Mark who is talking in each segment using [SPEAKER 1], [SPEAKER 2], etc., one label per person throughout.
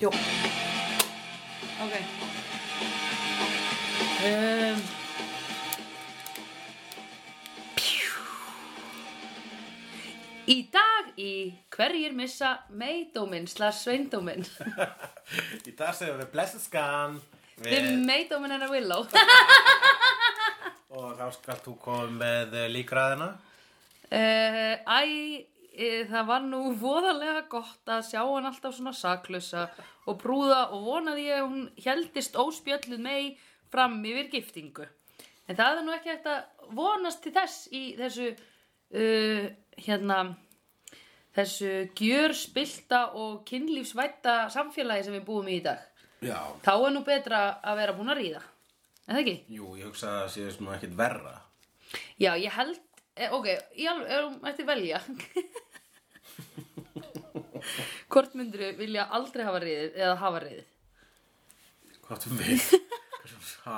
[SPEAKER 1] Jo.
[SPEAKER 2] Okej. Ehm. Í dag í hverjir missa meidóminn slags sveindóminn
[SPEAKER 3] Í dag segjum við Blessed Scan
[SPEAKER 2] Við
[SPEAKER 3] við-
[SPEAKER 2] meidóminn hennar Willow
[SPEAKER 3] og þá skal þú koma með eh, líkræðina.
[SPEAKER 2] uh, Æ, eh, það var nú voðalega gott að sjá hann alltaf svona saklausa og brúða og vonaði ég að hún heldist óspjölluð mei fram yfir giftingu. En það er nú ekki hægt að vonast til þess í þessu, uh, hérna, þessu gjörspilta og kynlífsvætta samfélagi sem við búum í í dag.
[SPEAKER 3] Já.
[SPEAKER 2] Þá er nú betra að vera búin að ríða. En það ekki?
[SPEAKER 3] Jú, ég hugsa að það sé svona ekkit verra.
[SPEAKER 2] Já, ég held, eh, ok, ég alveg, erum eftir velja. Hvort myndir við vilja aldrei hafa reyðið eða hafa reyðið?
[SPEAKER 3] Hvort um við? ha?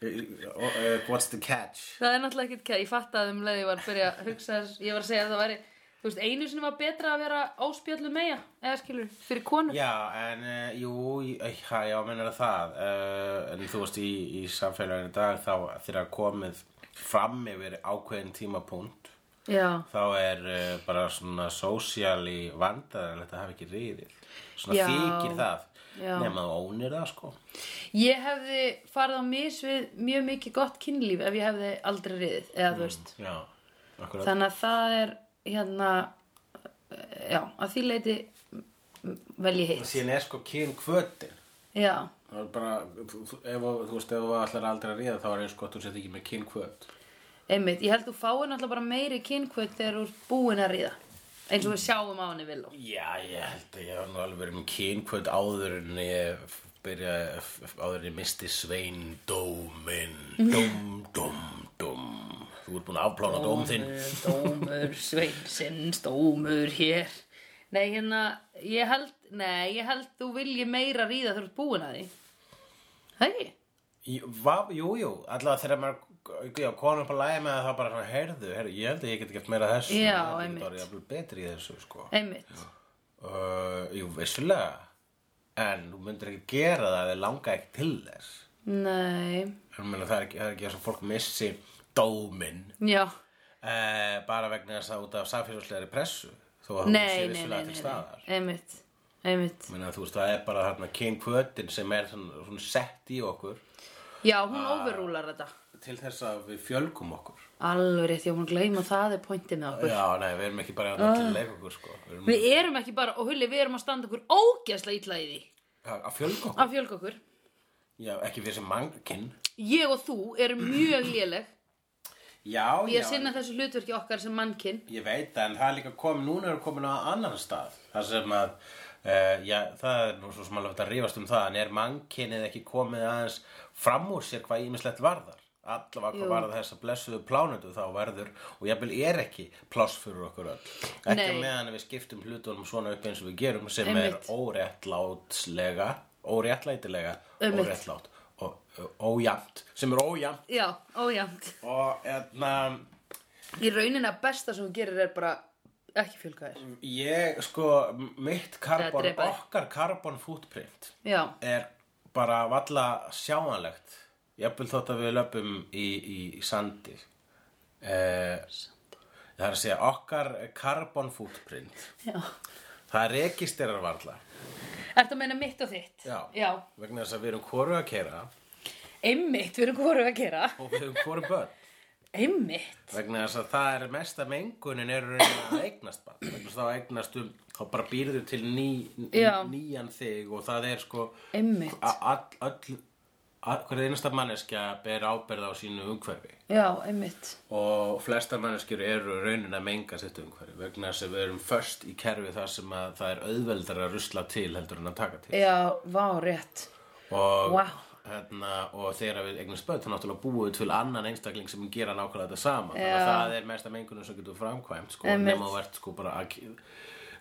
[SPEAKER 3] Uh, what's the catch?
[SPEAKER 2] Það er náttúrulega ekkert hvað, ég fattaði um leið, ég var að byrja að hugsa þess, ég var að segja að það væri, þú veist, einu sinni var betra að vera áspjallu meja, eða skilur, fyrir konu.
[SPEAKER 3] Já, en uh, jú, uh, já, mennir það. Uh, en þú veist, í, í samfélaginu í dag þá þegar komið fram yfir ákveðin tímapunkt
[SPEAKER 2] Já,
[SPEAKER 3] þá er uh, bara svona sósíali vandaðanlegt að hafa ekki riðið. Svona
[SPEAKER 2] Já.
[SPEAKER 3] þykir það.
[SPEAKER 2] Já.
[SPEAKER 3] Nefn að þú ónir það, sko.
[SPEAKER 2] ég hefði farið á mis við mjög mikið gott kynlíf ef ég hefði aldrei reyðið, eða þú veist.
[SPEAKER 3] Já, akkurat.
[SPEAKER 2] Þannig að það er, hérna, eh, já, að því leiti vel ég heitt.
[SPEAKER 3] Síðan er sko kyn kvötin.
[SPEAKER 2] Já,
[SPEAKER 3] Það er bara, þú- þú- ef þú þú veist, ef þú ætlar aldrei að ríða þá er eins gott þú sett ekki með kynkvöld.
[SPEAKER 2] einmitt, ég held þú fáir náttúrulega bara meiri kynkvöld þegar þú ert búin að ríða eins og við sjáum á henni Villó
[SPEAKER 3] Já, ég held að ég hef nú alveg verið með kynkvöld áður en ég byrja, áður en ég misti sveindómin. Dóm, dóm, dóm. Þú ert búin að afplána dóm þinn.
[SPEAKER 2] Dómur sveinsins, dómur hér Nei, hérna, ég held, nei, ég held þú vilji meira ríða þegar þú ert búin að því Það ekki?
[SPEAKER 3] Í- vá- Jú, jú, allavega þegar maður, já, konum upp að lægja með það þá bara svona, heyrðu, heyrðu, ég held að ég geti gert meira af þessu.
[SPEAKER 2] Já,
[SPEAKER 3] Ég
[SPEAKER 2] einmitt.
[SPEAKER 3] get orðið jafnvel betri í þessu, sko.
[SPEAKER 2] Einmitt
[SPEAKER 3] Uh, jú, vissulega. En þú myndir ekki gera það ef þið langa ekki til þess.
[SPEAKER 2] Nei,
[SPEAKER 3] En meina, það er ekki, það er ekki þess að fólk missi dóminn
[SPEAKER 2] já,
[SPEAKER 3] eh, bara vegna þess að út af samfélagslegari pressu. Þó að hún sé
[SPEAKER 2] nei, nei, nei, nei,
[SPEAKER 3] vissulega til
[SPEAKER 2] nei.
[SPEAKER 3] staðar.
[SPEAKER 2] Einmitt, einmitt
[SPEAKER 3] Meina, þú veist, það er bara þarna kynkvötin sem er svona, svona sett í okkur
[SPEAKER 2] Já, hún
[SPEAKER 3] Ah.
[SPEAKER 2] overrúlar þetta
[SPEAKER 3] til þess að við fjölgum okkur.
[SPEAKER 2] Alveg rétt, ég var búin að gleyma að það er pointið með okkur Ah.
[SPEAKER 3] Já, nei, við erum ekki bara að uh. leika okkur, sko. Við erum
[SPEAKER 2] Við erum ekki bara, og hulli, við erum að standa okkur ógeðslega illa í því
[SPEAKER 3] að að fjölga okkur.
[SPEAKER 2] að fjölga okkur.
[SPEAKER 3] Já, ekki við sem mannkinn.
[SPEAKER 2] Ég og þú erum mjög léleg
[SPEAKER 3] Já,
[SPEAKER 2] og ég
[SPEAKER 3] já.
[SPEAKER 2] sinna þessu hlutverki okkar sem mannkinn.
[SPEAKER 3] Ég veit það, en það er líka komið, núna er komin á annan stað. Það sem að, uh, já, það er nú svo sem alveg hægt að rífast um það, en er mannkynnið ekki komið aðeins fram úr sér hvað ímislegt varðar? Allavega
[SPEAKER 2] Jú.
[SPEAKER 3] hvað varðar þessa blessuðu plánutu þá verður, og jafnvel er ekki pláss fyrir okkur öll. Ekki
[SPEAKER 2] Nei.
[SPEAKER 3] Nei. meðan við skiptum hlutunum svona upp eins og við gerum sem
[SPEAKER 2] Einmitt.
[SPEAKER 3] er óréttlátslega, óréttlætilega,
[SPEAKER 2] Einmitt.
[SPEAKER 3] óréttlát og og ójafnt, sem er ójafnt.
[SPEAKER 2] Já, ójæmt.
[SPEAKER 3] Og, hérna, etna,
[SPEAKER 2] Í rauninni að besta sem þú gerir er bara ekki fjölga þér.
[SPEAKER 3] Mm. Ég, sko, mitt karbon,
[SPEAKER 2] drepa þig.
[SPEAKER 3] okkar karbon footprint
[SPEAKER 2] Já,
[SPEAKER 3] er bara valla sjáanlegt. Jafnvel þótt að við löpum í, í, í sandi. Eh, það er að segja, okkar karbon footprint,
[SPEAKER 2] já.
[SPEAKER 3] það rekisterar varla.
[SPEAKER 2] Ertu að meina mitt og þitt?
[SPEAKER 3] Já.
[SPEAKER 2] Já,
[SPEAKER 3] Vegna þess að við erum hvoru að kera
[SPEAKER 2] einmitt, við erum hvoru að gera.
[SPEAKER 3] og við erum hvoru börn.
[SPEAKER 2] Einmitt.
[SPEAKER 3] Vegna þess að það er mesta mengunin er raunin að eignast bara. Vegna þess að þá eignast um, þá bara býrðu til ný, ný,
[SPEAKER 2] Já.
[SPEAKER 3] nýjan þig og það er sko...
[SPEAKER 2] Einmitt.
[SPEAKER 3] A- all, all, all, hver einasta manneskja ber ábyrð á sínu umhverfi
[SPEAKER 2] Já, einmitt.
[SPEAKER 3] og flesta manneskjur eru raunin að menga sitt umhverfi vegna þess að við erum först í kerfi þar sem að það er auðveldar að rusla til heldur en að taka til
[SPEAKER 2] Já, vá, rétt.
[SPEAKER 3] og,
[SPEAKER 2] Vá.
[SPEAKER 3] hérna, og þegar við eignum spöð þá náttúrulega búið til annan einstakling sem gera nákvæmlega þetta sama þannig
[SPEAKER 2] Já.
[SPEAKER 3] að það er mesta mengunum sem getur framkvæmt sko,
[SPEAKER 2] Einmitt.
[SPEAKER 3] nema þú ert sko bara að ke-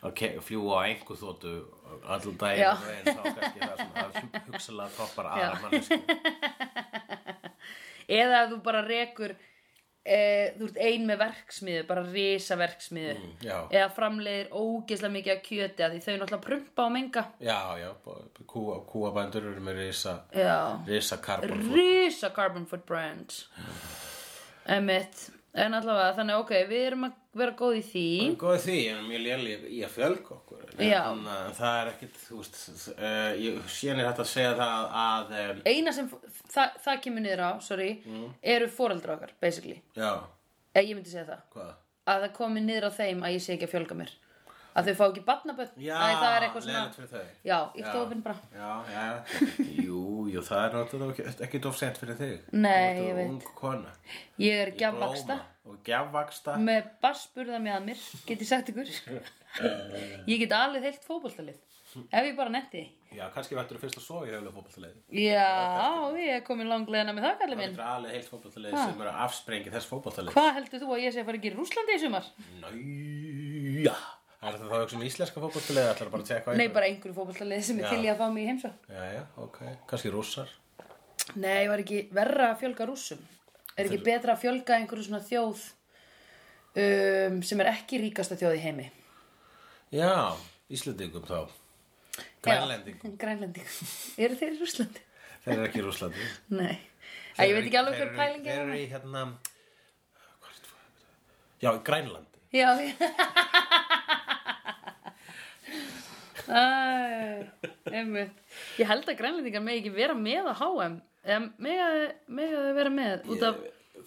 [SPEAKER 3] að ke- fljúga á einhver þóttu allan
[SPEAKER 2] Já.
[SPEAKER 3] daginn en þá kannski það sem að hugsalega toppar aðra manneskjur
[SPEAKER 2] Eða ef þú bara rekur eh, þú ert ein með verksmiðu, bara risa verksmiðu
[SPEAKER 3] Mm, já.
[SPEAKER 2] eða framleiðir ógeðslega mikið af kjöti að því þau náttúrulega prumpa og menga
[SPEAKER 3] Já, já, b- kúa, kúabændur eru með risa,
[SPEAKER 2] já,
[SPEAKER 3] risa karbon
[SPEAKER 2] risa carbon footprint emitt en allavega, þannig ok, við erum að vera góð í því
[SPEAKER 3] Góð í því, en mjög léli í að fjölga okkur En-
[SPEAKER 2] Já.
[SPEAKER 3] en, uh, Það er ekkit, þú veist, uh, ég síðan er hægt að segja það að um,
[SPEAKER 2] eina sem það, það kemur niður á, sorry eru foreldra okkar, basically
[SPEAKER 3] Já,
[SPEAKER 2] eða ég myndi segja það
[SPEAKER 3] hvað?
[SPEAKER 2] að það komi niður á þeim að ég sé ekki að fjölga mér að þau fá ekki barnabönd
[SPEAKER 3] Já,
[SPEAKER 2] að það er eitthvað
[SPEAKER 3] leiðilegt
[SPEAKER 2] svona
[SPEAKER 3] fyrir þau
[SPEAKER 2] já, ég stóðum bara
[SPEAKER 3] Já, já, jú, jú, það er náttúrulega ekki, ekki of sent fyrir þig
[SPEAKER 2] Nei,
[SPEAKER 3] Þú ert
[SPEAKER 2] ég veit.
[SPEAKER 3] Ung kona
[SPEAKER 2] ég er
[SPEAKER 3] Í
[SPEAKER 2] gjafvaksta
[SPEAKER 3] blóma. Og gjafvaksta
[SPEAKER 2] með basburða með að mér get ég sagt ykkur ég get alveg heilt fótboltalið ef ég bara netti
[SPEAKER 3] Já, kannski vættur fyrst að sofa í höfla fótboltaleið
[SPEAKER 2] já, ég er komin langlegina með það kallið minn
[SPEAKER 3] Þetta er alveg heilt fótboltaleið sem eru að afsprengi þess fótboltaleið
[SPEAKER 2] hvað heldur þú að ég sé að fara ekki í Rúslandi í sumar?
[SPEAKER 3] Næja Er þetta þá eitthvað um íslenska fótboltaleið ætlar bara að tjekka á
[SPEAKER 2] nei,
[SPEAKER 3] einhverju?
[SPEAKER 2] bara einhverju fótboltalið sem er
[SPEAKER 3] Já.
[SPEAKER 2] til ég að fá mig í heimsó
[SPEAKER 3] Já, já, ok, kannski rússar
[SPEAKER 2] nei, ég var ekki verra að fjölga rússum er ekki betra að fjölga einhverju svona þjóð um, sem er ekki ríkasta þjóð í heimi
[SPEAKER 3] Já, Íslandingum þá Grænlendingum,
[SPEAKER 2] Já, Grænlendingum. Eru þeir í Rúslandi?
[SPEAKER 3] þeir eru ekki í Rússlandi
[SPEAKER 2] Nei. Æ, ég veit ekki alveg hver pælingi
[SPEAKER 3] Þeir
[SPEAKER 2] er.
[SPEAKER 3] eru í hérna hvað er þetta? Já, í Grænlandi
[SPEAKER 2] Já, já. Æ, einmitt. Ég held að grænlendingar megi ekki vera með á HM. Eða mega, mega þau vera með. Út af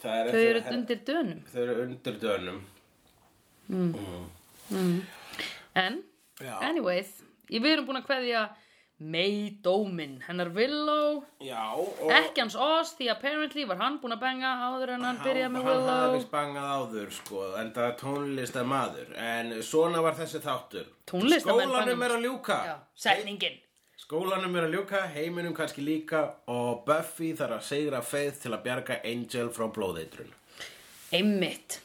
[SPEAKER 3] Það er
[SPEAKER 2] þau eru
[SPEAKER 3] eftir-
[SPEAKER 2] undir dönum.
[SPEAKER 3] Þau eru undir dönum
[SPEAKER 2] En,
[SPEAKER 3] Já.
[SPEAKER 2] anyways, ég við erum búin að kveðja May Domin, hennar Willow,
[SPEAKER 3] Já, og
[SPEAKER 2] ekki hans Oz, því apparently var hann búin að benga áður en hann byrjaði með
[SPEAKER 3] Hann
[SPEAKER 2] Willow.
[SPEAKER 3] hafði vist bangað áður, sko, en það er tónlistarmadur En svona var þessi þáttur
[SPEAKER 2] Tónlistarmenn
[SPEAKER 3] Skólanum
[SPEAKER 2] banga-
[SPEAKER 3] er að ljúka
[SPEAKER 2] Já, setningin.
[SPEAKER 3] Skólanum er að ljúka, heiminum kannski líka og Buffy þarf að segra Faith til að bjarga Angel frá blóðeitrun.
[SPEAKER 2] Einmitt.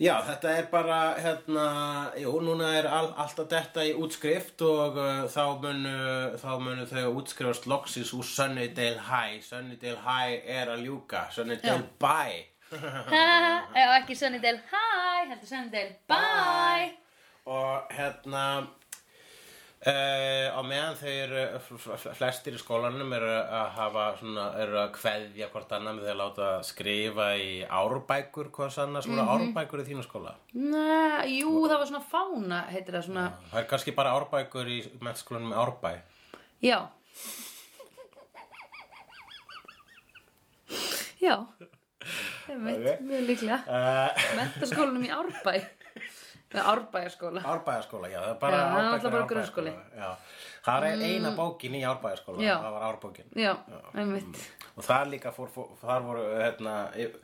[SPEAKER 3] Já, þetta er bara, hérna, jú, núna er all, alltaf þetta í útskrift og uh, þá, munu, þá munu þau útskrifast loksins úr Sunnydale High. Sunnydale High er að ljúka, Sunnydale Bye.
[SPEAKER 2] ha, eða ekki Sunnydale hi, heldur Sunnydale bye
[SPEAKER 3] og hérna, uh, á meðan þau eru, f- f- flestir í skólanum eru að hafa svona, eru að kveðja hvort annað með því að láta skrifa í árbækur, hvort annað, svona
[SPEAKER 2] Mhm.
[SPEAKER 3] árbækur í þínu skóla.
[SPEAKER 2] Næ, jú, það var svona fána heitir það svona,
[SPEAKER 3] Það er kannski bara árbækur í mennskólanum með árbæ.
[SPEAKER 2] já Já einmitt,
[SPEAKER 3] Ok.
[SPEAKER 2] mjög líklega
[SPEAKER 3] Uh,
[SPEAKER 2] Eh, Mentaskólanum í Árbæ Eða Árbæjarskóla
[SPEAKER 3] árbæjarskóla, já, það er bara
[SPEAKER 2] Já, það er
[SPEAKER 3] árbækur
[SPEAKER 2] náttúrulega bara
[SPEAKER 3] í árbæjarskóla. Já, það er eina bókin í árbæjarskóla,
[SPEAKER 2] Já.
[SPEAKER 3] það var árbókin.
[SPEAKER 2] Já, einmitt
[SPEAKER 3] og þar líka fór, fór þar voru hérna, yf-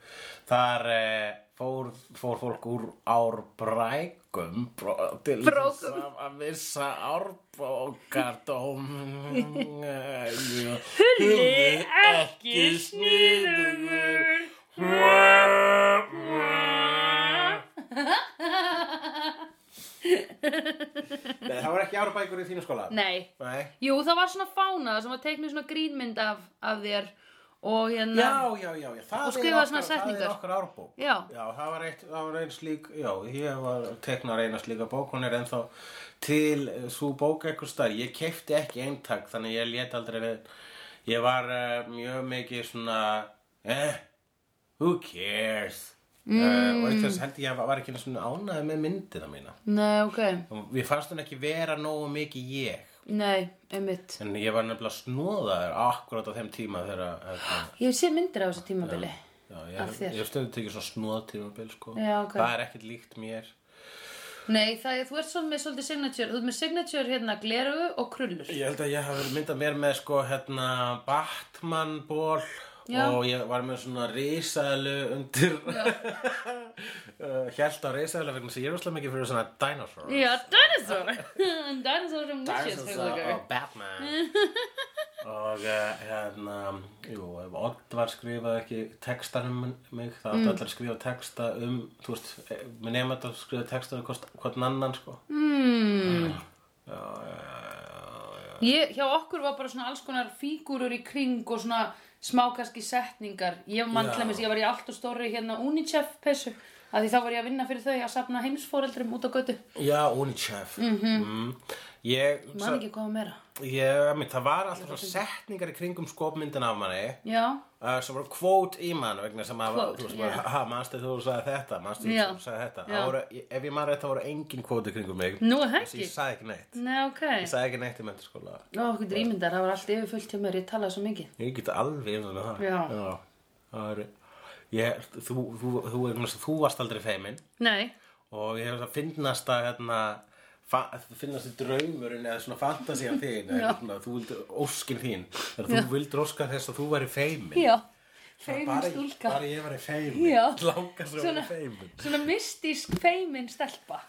[SPEAKER 3] þar eh, fór, fór fólk úr árbrækum bró- til
[SPEAKER 2] Brókum.
[SPEAKER 3] þess að- að vissa árbókardóm
[SPEAKER 2] Hulli ekki sniðugur
[SPEAKER 3] Nei, það voru ekki árbækur í þínu skóla
[SPEAKER 2] Nei,
[SPEAKER 3] Nei.
[SPEAKER 2] jú, það var svona fána sem var teiknum svona grínmynd af, af þér og hérna
[SPEAKER 3] Já, já, já, já, það
[SPEAKER 2] Og
[SPEAKER 3] er
[SPEAKER 2] skrifaði
[SPEAKER 3] okkar-
[SPEAKER 2] svona
[SPEAKER 3] Það
[SPEAKER 2] setningar.
[SPEAKER 3] er okkar árbók
[SPEAKER 2] Já.
[SPEAKER 3] það var, eitt, það var einn slík, já, ég var teknar eina slíka bók, hún er ennþá til eh, sú bók eitthvað starf Ég keipti ekki eintak, þannig ég lét aldrei við Ég var uh, mjög mikið svona, eh, who cares mm. Og eitt þess held ég að var ekki svona ánæði með myndina mína
[SPEAKER 2] Nei, ok
[SPEAKER 3] Og Við fannst hún ekki vera nógu mikið ég
[SPEAKER 2] Nei, einmitt.
[SPEAKER 3] En ég var nefnilega snóðaður akkurat á þeim tíma þegar að
[SPEAKER 2] Ég sé myndir á þessu tímabili.
[SPEAKER 3] Já,
[SPEAKER 2] Af
[SPEAKER 3] ég,
[SPEAKER 2] þér.
[SPEAKER 3] ég hef stundu tekið svona snóðtímabil sko.
[SPEAKER 2] Já, ok.
[SPEAKER 3] Það er ekkert líkt mér
[SPEAKER 2] Nei, það er, þú ert svolítið með svolítið signature. Þú ert með signature hérna gleru og krullur.
[SPEAKER 3] Ég held að ég hafi myndað mér með sko, hérna, Batman ból
[SPEAKER 2] Já.
[SPEAKER 3] og ég var með svona risaðlu undir Hjælt á risaðlu vegna sem ég er úslega mikið fyrir svona dinosaur
[SPEAKER 2] Já, dinosaur. dinosaur from wishes.
[SPEAKER 3] Dinosaurs
[SPEAKER 2] Dinosaur.
[SPEAKER 3] og Batman og uh, hérna jú, ef Oddvar skrifaði ekki textan um mig þá
[SPEAKER 2] Mm.
[SPEAKER 3] áttu allir að skrifa texta um þú veist, eh, mér nefnum þetta að skrifa texta um hvort, hvort annan sko
[SPEAKER 2] Mm.
[SPEAKER 3] já, já, já, já, já.
[SPEAKER 2] Ég, hjá okkur var bara svona alls konar fígurur í kring og svona smá kannski setningar ég mann
[SPEAKER 3] Já.
[SPEAKER 2] til þess ég var í allt og stóri hérna UNICEF peysu að því þá var ég að vinna fyrir þau að safna heimsforeldrum út á götu
[SPEAKER 3] Já, Unicef mm -hmm. Ég,
[SPEAKER 2] man ekki hvað var meira
[SPEAKER 3] ég mynd, það var alltaf svona setningar í kringum skopmyndin af manni
[SPEAKER 2] já,
[SPEAKER 3] uh, sem voru kvót í mann vegna sem að,
[SPEAKER 2] Quote,
[SPEAKER 3] þú veist,
[SPEAKER 2] já.
[SPEAKER 3] yeah. manstu þú sagði þetta, manstu
[SPEAKER 2] Já.
[SPEAKER 3] þú sagði þetta
[SPEAKER 2] Já.
[SPEAKER 3] Það voru, ef ég maður rétt þá voru engin kvót í kringum mig
[SPEAKER 2] Nú, er það
[SPEAKER 3] Þess að ég
[SPEAKER 2] ekki?
[SPEAKER 3] sagði ekki neitt
[SPEAKER 2] nei ok
[SPEAKER 3] ég sagði ekki neitt í mentaskóla
[SPEAKER 2] Ó, okkur drýmyndar, það var allt yfirfullt hjá mér, ég talaði svo mikið.
[SPEAKER 3] ég get alveg um það
[SPEAKER 2] Já.
[SPEAKER 3] Það er, ég, þú, þú, þú, þú, þú, þú varst aldrei feimin
[SPEAKER 2] Nei,
[SPEAKER 3] og ég hef það finnast að hérna, fa- finnast í draumurinn eða svona fantasían þín eða, hérna, þú vildir óskin þín eða þú vildir óska þess að þú væri feimin
[SPEAKER 2] já,
[SPEAKER 3] Bara-
[SPEAKER 2] feimin stúlka.
[SPEAKER 3] bara ég væri feimin
[SPEAKER 2] Já.
[SPEAKER 3] langar svo að
[SPEAKER 2] Svona-
[SPEAKER 3] vera feimin
[SPEAKER 2] Svona mystísk feimin stelpa.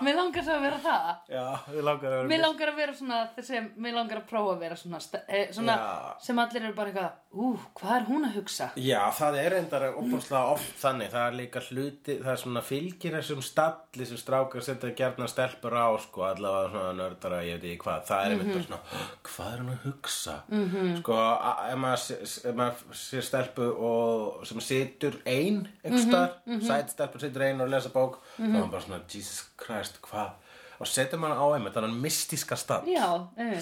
[SPEAKER 2] Mér langar svo að vera það.
[SPEAKER 3] já, ég langar að
[SPEAKER 2] Mér
[SPEAKER 3] vera
[SPEAKER 2] langar að vera svona, þessi, mér langar að prófa að vera svona, st- eh, svona
[SPEAKER 3] Já.
[SPEAKER 2] sem allir eru bara eitthvað, ú, hvað er hún að hugsa?
[SPEAKER 3] já, það er reyndar opaslega oft þannig það er líka hluti, það er svona fylgir þessum stalli sem strákar setja gjarnar stelpur á sko, allavega svona nördara, ég veit ekki hvað það er einmitt bara svona, hvað er hann að hugsa
[SPEAKER 2] Mhm.
[SPEAKER 3] -hmm. sko, a- ef maður sé- ef maður sér stelpu og sem situr ein
[SPEAKER 2] Mhm,
[SPEAKER 3] einhvers staðar, mm -hmm. sæt stelpur situr ein og lesa bók þá er hann bara svona, Jesus Christ, hvað og setur maður á einmitt, þannig mystíska stall
[SPEAKER 2] Já, eh.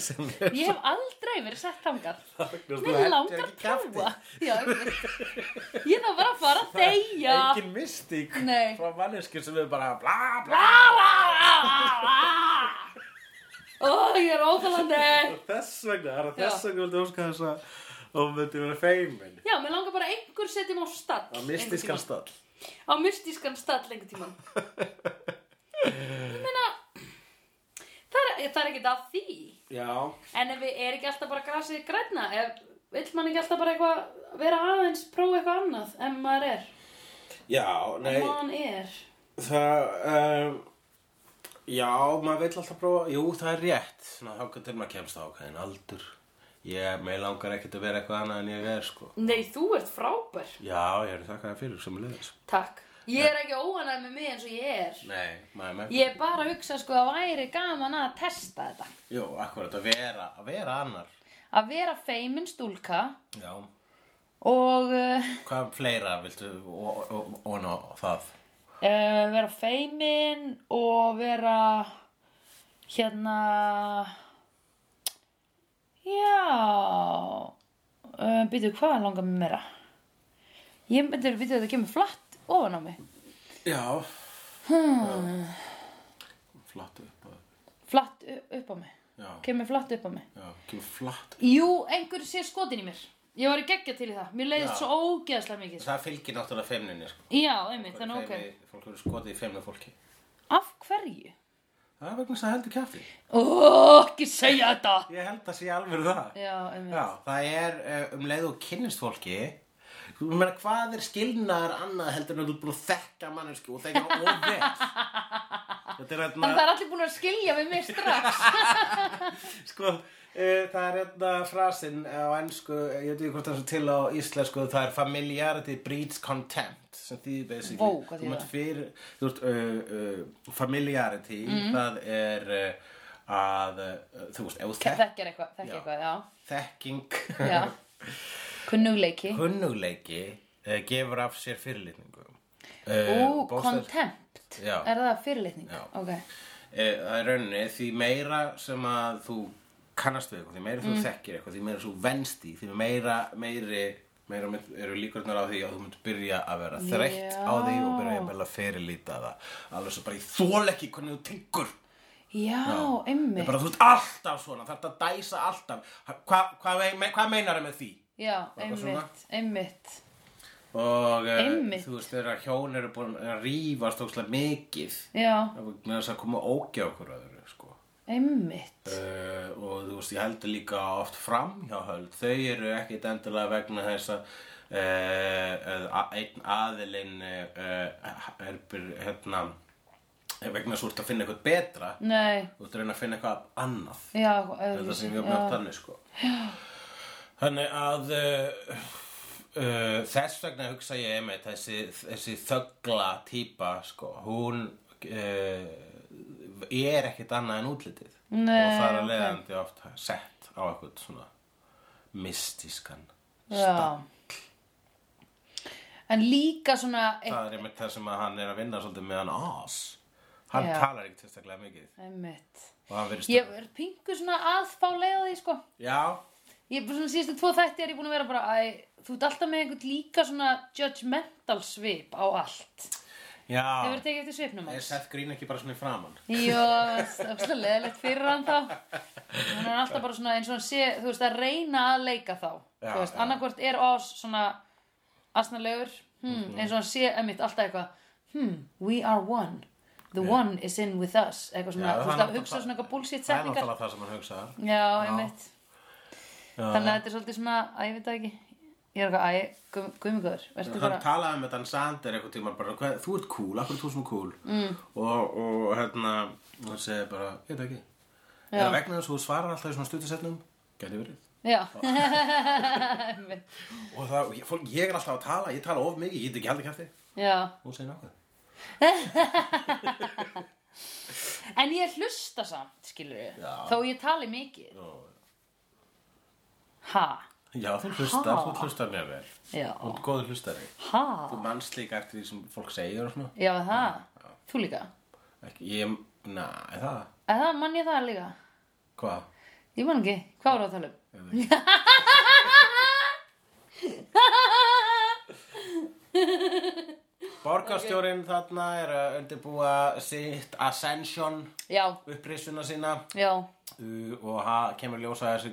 [SPEAKER 2] ég hef aldrei verið sett þangað.
[SPEAKER 3] Þú
[SPEAKER 2] Mér
[SPEAKER 3] heldur
[SPEAKER 2] langar að
[SPEAKER 3] ekki kjafti.
[SPEAKER 2] prófa. Já, einmitt. ég þarf bara að fara að deyja.
[SPEAKER 3] engin mystík
[SPEAKER 2] Nei.
[SPEAKER 3] frá manneskir sem við bara bla bla
[SPEAKER 2] Ó, ég er óþalandi.
[SPEAKER 3] þess vegna, það er þess vegna vildi óska þess að og myndi vera feimin
[SPEAKER 2] Já, mér langar bara að einhver setjum á stall.
[SPEAKER 3] á
[SPEAKER 2] einhvern
[SPEAKER 3] mystískan
[SPEAKER 2] tímann.
[SPEAKER 3] stall
[SPEAKER 2] á mystískan stall einhvern tíman ég meina það er, það er ekkert að því
[SPEAKER 3] já,
[SPEAKER 2] en ef við er ekki alltaf bara grasið græna ef vill mann ekki alltaf bara eitthvað vera aðeins prófa eitthvað annað en maður er
[SPEAKER 3] já, nei
[SPEAKER 2] en maður er
[SPEAKER 3] það um, já, maður vill alltaf prófa jú, það er rétt, svona þá til maður kemst á ákveðin aldur ég, mig langar ekkert að vera eitthvað annað en ég er sko
[SPEAKER 2] nei þú ert frábær
[SPEAKER 3] já, ég er þakkaði fyrir sem er leiðis
[SPEAKER 2] takk ég er ekki óanæð með mig eins og ég er
[SPEAKER 3] nei, maður með
[SPEAKER 2] ég er bara að hugsa sko að væri gaman að testa þetta
[SPEAKER 3] jú, akkurat, að vera, að vera annar
[SPEAKER 2] að vera feimin stúlka
[SPEAKER 3] já
[SPEAKER 2] og uh,
[SPEAKER 3] Hvað fleira viltu og- og- ofan á það?
[SPEAKER 2] uh, vera feimin og vera hérna já uh, býtu hvað langar mér meira ég myndi að býtu þetta kemur flatt ofan á mig
[SPEAKER 3] Já
[SPEAKER 2] Hmm.
[SPEAKER 3] Flatt upp að
[SPEAKER 2] flatt u- upp á mig
[SPEAKER 3] Já,
[SPEAKER 2] kemur flatt upp á mig
[SPEAKER 3] já, kemur flatt
[SPEAKER 2] jú, einhver sé skotin í mér ég var í geggja til í það, mér leiðist
[SPEAKER 3] Já.
[SPEAKER 2] svo ógeðslega mikið
[SPEAKER 3] Það fylgir náttúrulega feimninni sko.
[SPEAKER 2] já, einmitt, þannig ok
[SPEAKER 3] Feimni- Fólk eru skotið í feimna fólki
[SPEAKER 2] af hverju?
[SPEAKER 3] Það er vegna þess að heldur kjafti
[SPEAKER 2] ó, ekki segja þetta
[SPEAKER 3] Ég held að sé alveg það
[SPEAKER 2] já, einmitt
[SPEAKER 3] Já, það er eh, um leið og kynnist fólki Þú meina, hvað er skilnaðar annað heldur en að þú er búin að þekka mannesku og þekka hann of vel Þetta er hérna
[SPEAKER 2] Þannig að það er allir búin að skilja við mig strax.
[SPEAKER 3] Sko, e, það er hérna frasinn á ennsku, ég veit ekki hvort það er svo til á íslensku, það er familiarity breeds contempt sem þýðir basically.
[SPEAKER 2] Vó, hvað þýðir
[SPEAKER 3] Þú mátt
[SPEAKER 2] það? Mhm.
[SPEAKER 3] fyrir, þú veist, uh, uh, familiarity, það er uh, að, uh, þú veist, ef þú þekk,
[SPEAKER 2] Þekkjar eitthvað,
[SPEAKER 3] Já.
[SPEAKER 2] þekkjar eitthvað, já.
[SPEAKER 3] þekking,
[SPEAKER 2] Já. Kunnugleiki.
[SPEAKER 3] kunnugleiki, uh, gefur af sér fyrirlitningu.
[SPEAKER 2] Ú, contempt.
[SPEAKER 3] eh, Já.
[SPEAKER 2] Er það fyrirlitning?
[SPEAKER 3] Já.
[SPEAKER 2] Ok.
[SPEAKER 3] Eh, Það er rauninni því meira sem að þú kannast við eitthvað, því meira þú þekkir eitthvað, því meira þú venst í, því meira, meiri, meira mynd- eru líkurnar á því að þú myndir byrja að vera þreytt á því og byrja jafnvel að fyrirlíta það. Alveg svo bara ég þól ekki hvernig þú tengur.
[SPEAKER 2] Já,
[SPEAKER 3] Það
[SPEAKER 2] einmitt.
[SPEAKER 3] er bara þú ert alltaf svona, þarf að dæsa alltaf. Hvað hva, hva, hva meinar það með því?
[SPEAKER 2] Já,
[SPEAKER 3] eitthvað svona.
[SPEAKER 2] einmitt, einmitt.
[SPEAKER 3] Og eh,
[SPEAKER 2] Einmitt.
[SPEAKER 3] þú veist þegar hjón eru búin að rífast ókslega mikið,
[SPEAKER 2] Já,
[SPEAKER 3] það er með þess að koma ógja okkur öðru, sko.
[SPEAKER 2] einmitt.
[SPEAKER 3] Uh, og þú veist, ég heldur líka oft framhjáhöld, þau eru ekkit endilega vegna þess að uh, uh, einn aðilinn uh, er byr- hérna eh, vegna svo ert að finna eitthvað betra
[SPEAKER 2] Nei,
[SPEAKER 3] þú ert að reyna að finna eitthvað annað
[SPEAKER 2] já,
[SPEAKER 3] þetta
[SPEAKER 2] öðruvísi,
[SPEAKER 3] sem við
[SPEAKER 2] já.
[SPEAKER 3] opnaðum þannig sko þannig að uh, uh, þess vegna hugsa ég einmitt þessi, þessi þögla típa sko, hún uh, er ekkit annað en útlitið
[SPEAKER 2] Nei,
[SPEAKER 3] og það er að
[SPEAKER 2] ok.
[SPEAKER 3] leiðandi oft sett á eitthvað svona mystískan
[SPEAKER 2] Já. En líka svona e- eitt,
[SPEAKER 3] það er einmitt það sem að hann er að vinna svolítið með hann ás hann
[SPEAKER 2] Já.
[SPEAKER 3] talar ekki tilstaklega mikið
[SPEAKER 2] einmitt.
[SPEAKER 3] og hann verið
[SPEAKER 2] Ég er pingu svona aðfá leið á því, sko.
[SPEAKER 3] já,
[SPEAKER 2] Ég er bara svona síðustu tvo þætti er ég búin að vera bara að þú ert alltaf með einhvern líka svona judgmental svip á allt. Hefur
[SPEAKER 3] já
[SPEAKER 2] tekið eftir svipnum
[SPEAKER 3] er
[SPEAKER 2] hans?
[SPEAKER 3] Seth Green ekki bara svona í framann
[SPEAKER 2] Jó, það er leðilegt fyrir hann þá. Hann er alltaf bara svona eins og hann sé, þú veist, að reyna að leika þá.
[SPEAKER 3] Já,
[SPEAKER 2] þú veist,
[SPEAKER 3] já.
[SPEAKER 2] annarkvort er ás svona asnalegur, hmm,
[SPEAKER 3] Mhm.
[SPEAKER 2] eins og hann sé emitt alltaf eitthvað, hmm, we are one, the one is in with us, eitthvað svona, þú
[SPEAKER 3] Já, hann
[SPEAKER 2] veist, að
[SPEAKER 3] náttúrulega-
[SPEAKER 2] hugsa svona eitthvað bullshit
[SPEAKER 3] það er
[SPEAKER 2] setningar.
[SPEAKER 3] náttúrulega það sem hann hugsa
[SPEAKER 2] Já, emitt.
[SPEAKER 3] Já.
[SPEAKER 2] Þannig að þetta er svolítið svona, að ég veit það ekki, ég er eitthvað, að ég, guðmjögur, verður
[SPEAKER 3] hann
[SPEAKER 2] bara,
[SPEAKER 3] talaði með Dan Sander eitthvað tíma bara, hvað, þú ert cool, akkur er þú svona cool mm. og, og hérna hann segi bara, ég veit það ekki
[SPEAKER 2] Já.
[SPEAKER 3] eða vegna þess að þú svarar alltaf í svona stuttisetnum gæti verið
[SPEAKER 2] já, einmitt,
[SPEAKER 3] og það, ég, fólk, ég er alltaf að tala, ég tala of mikið, ég get ekki haldið kæfti
[SPEAKER 2] já.
[SPEAKER 3] hún segir nákvæm
[SPEAKER 2] En ég hlusta samt, skilur ég,
[SPEAKER 3] Já.
[SPEAKER 2] þó ég tali mikið. Ha,
[SPEAKER 3] já, þú hlustar,
[SPEAKER 2] Ha.
[SPEAKER 3] þú hlustar mjög vel
[SPEAKER 2] já,
[SPEAKER 3] þú ert góður hlustari
[SPEAKER 2] ha,
[SPEAKER 3] þú manst líka eftir því sem fólk segir og svona
[SPEAKER 2] já það, þú líka,
[SPEAKER 3] ekki, ég, na, er það,
[SPEAKER 2] að það mann ég það líka,
[SPEAKER 3] hvað
[SPEAKER 2] ég man ekki, hvað voru að tala um?
[SPEAKER 3] Borgarstjórin þarna er að undirbúa sitt Ascension
[SPEAKER 2] Já,
[SPEAKER 3] upprisuna sína
[SPEAKER 2] já,
[SPEAKER 3] Uh, og það kemur ljósa þessi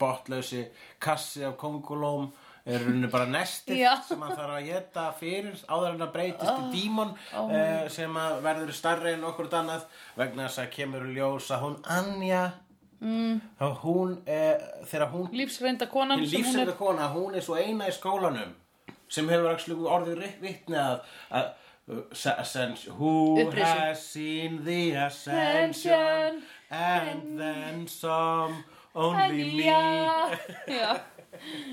[SPEAKER 3] botlausi kassi af kongulóm er runni bara nesti
[SPEAKER 2] Já.
[SPEAKER 3] sem hann þarf að geta fyrir áður en að breytist í dímon uh, sem að verður starri en okkur annað vegna þess að kemur ljósa hún Anja mm. þá hún uh, þegar hún
[SPEAKER 2] lífsreynda konan sem hún er,
[SPEAKER 3] lífsæða kona hún er svo eina í skólanum sem hefur actually orðið ri- vitni að, að Ascension, who
[SPEAKER 2] Upprisu.
[SPEAKER 3] has seen the ascension
[SPEAKER 2] Ascension.
[SPEAKER 3] and then some, only me
[SPEAKER 2] Anja, já,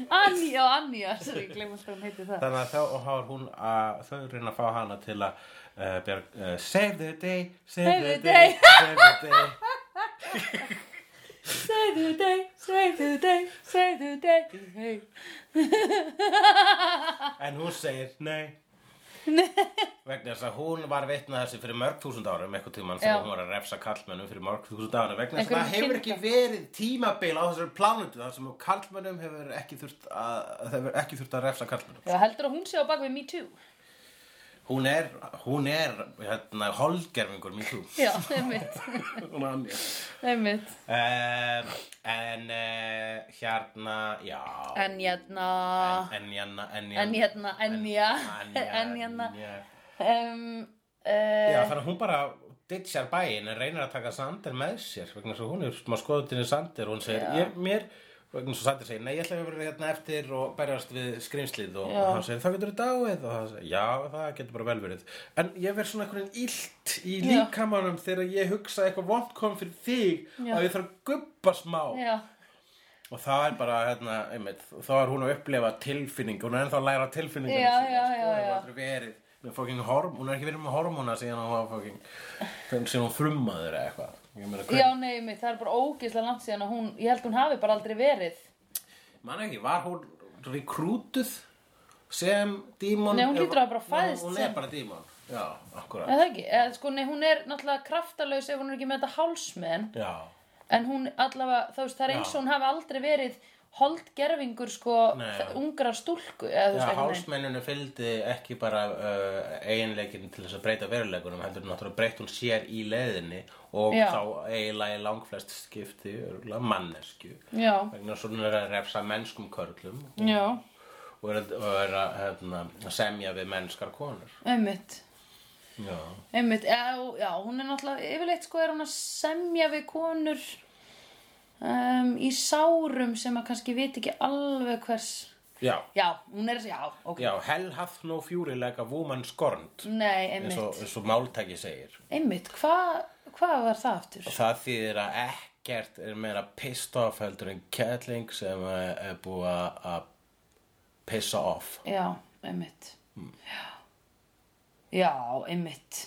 [SPEAKER 2] Anja, Anja, sorry, ég gleym alltaf að hún heiti það.
[SPEAKER 3] þannig að þá og þá er hún að þau reyna að fá hana til að uh, bjarg, uh, save the day save, the, day, save the day
[SPEAKER 2] Save the day, save the day, save the day, hey.
[SPEAKER 3] en hún segir nei vegna þess að hún var veitna þessi fyrir mörg þúsund árum eitthvað tímann sem
[SPEAKER 2] Já.
[SPEAKER 3] hún var að refsa kallmönnum fyrir mörg þúsund árum vegna þess að
[SPEAKER 2] Einhverjum
[SPEAKER 3] það hefur ekki
[SPEAKER 2] kynda.
[SPEAKER 3] verið tímabil á þessari plánutu þar sem kallmönnum hefur ekki þurft að, það hefur ekki þurft að refsa kallmönnum
[SPEAKER 2] Já, heldur að hún sé á bak við Me Too?
[SPEAKER 3] hún er, hún er hérna, holdgerfingur mér þú
[SPEAKER 2] Já, einmitt,
[SPEAKER 3] hún er annir
[SPEAKER 2] einmitt.
[SPEAKER 3] um, en uh, hérna já
[SPEAKER 2] En hérna...
[SPEAKER 3] en hérna en
[SPEAKER 2] En
[SPEAKER 3] hérna
[SPEAKER 2] hérna, enja, en hérna, um, uh,
[SPEAKER 3] Já, þannig að hún bara ditchar bæinn en reynir að taka Sander með sér vegna svo hún er smá skoðutinni Sander og hún segir, ég, mér, vegna svo Sander segir nei, ég ætla að vera hérna eftir og berjast við skrimslið og
[SPEAKER 2] Já.
[SPEAKER 3] hann segir, það getur dáið og hann segir, já, það getur bara vel verið en ég verð svona einhvern veginn illt í líkamanum þegar ég hugsa að eitthvað vont kom fyrir þig
[SPEAKER 2] Já.
[SPEAKER 3] að ég þarf að gubba smá
[SPEAKER 2] já,
[SPEAKER 3] og það er bara, hérna, einmitt, þá er hún að upplifa tilfinning, hún er ennþá að læra tilfinningar
[SPEAKER 2] Já, já,
[SPEAKER 3] sko,
[SPEAKER 2] já,
[SPEAKER 3] hún hefur
[SPEAKER 2] já.
[SPEAKER 3] aldrei verið með fucking horm, hún er ekki verið með hormóna síðan hún var fucking, sem hún frummaður eða eitthvað, ég meina,
[SPEAKER 2] já,
[SPEAKER 3] hver,
[SPEAKER 2] nei, mitt, það er bara ógeðslega langt síðan að hún, ég held hún hafi bara aldrei verið.
[SPEAKER 3] mann ekki, var hún rekrútuð sem dímon?
[SPEAKER 2] Nei, hún hlýtur að hafa bara fæðst
[SPEAKER 3] Hún
[SPEAKER 2] sem-
[SPEAKER 3] er bara dímon, já, akkurat,
[SPEAKER 2] Eða það ekki, eða sko, nei, hún er náttúrulega kraftalaus ef hún er ekki með þetta hálsmenn,
[SPEAKER 3] já,
[SPEAKER 2] en hún allavega, þú veist, það er eins og hún hafi aldrei verið holdgerfingur, sko,
[SPEAKER 3] Nei.
[SPEAKER 2] þ- ungrar stúlku, eða þú
[SPEAKER 3] já,
[SPEAKER 2] veist, einhvern veginn.
[SPEAKER 3] hálsmenninu fylgdi ekki bara uh, eiginleikin til þess að breyta veruleikunum, heldur náttúrulega breytt hún sér í leiðinni og
[SPEAKER 2] Já.
[SPEAKER 3] þá eiginlega í langflest skipti, örgulega, mannesku.
[SPEAKER 2] Já,
[SPEAKER 3] vegna þess að hún er að refsa mennskum körlum
[SPEAKER 2] já,
[SPEAKER 3] og er að, og er að hérna, semja við mennskar konur
[SPEAKER 2] einmitt.
[SPEAKER 3] já,
[SPEAKER 2] Einmitt, já, já, hún er náttúrulega yfirleitt sko er hún að semja við konur um, í sárum sem að kannski viti ekki alveg hvers
[SPEAKER 3] já,
[SPEAKER 2] Já, hún er, já, ok
[SPEAKER 3] já hell hath no fury like a woman scorned
[SPEAKER 2] Nei, einmitt,
[SPEAKER 3] eins og, eins og máltæki segir
[SPEAKER 2] einmitt, hvað hva var það aftur?
[SPEAKER 3] og það þýðir að ekkert er meira pissed off heldur en kettling sem eh, er búið að- að pissa off
[SPEAKER 2] Já, einmitt Já, já einmitt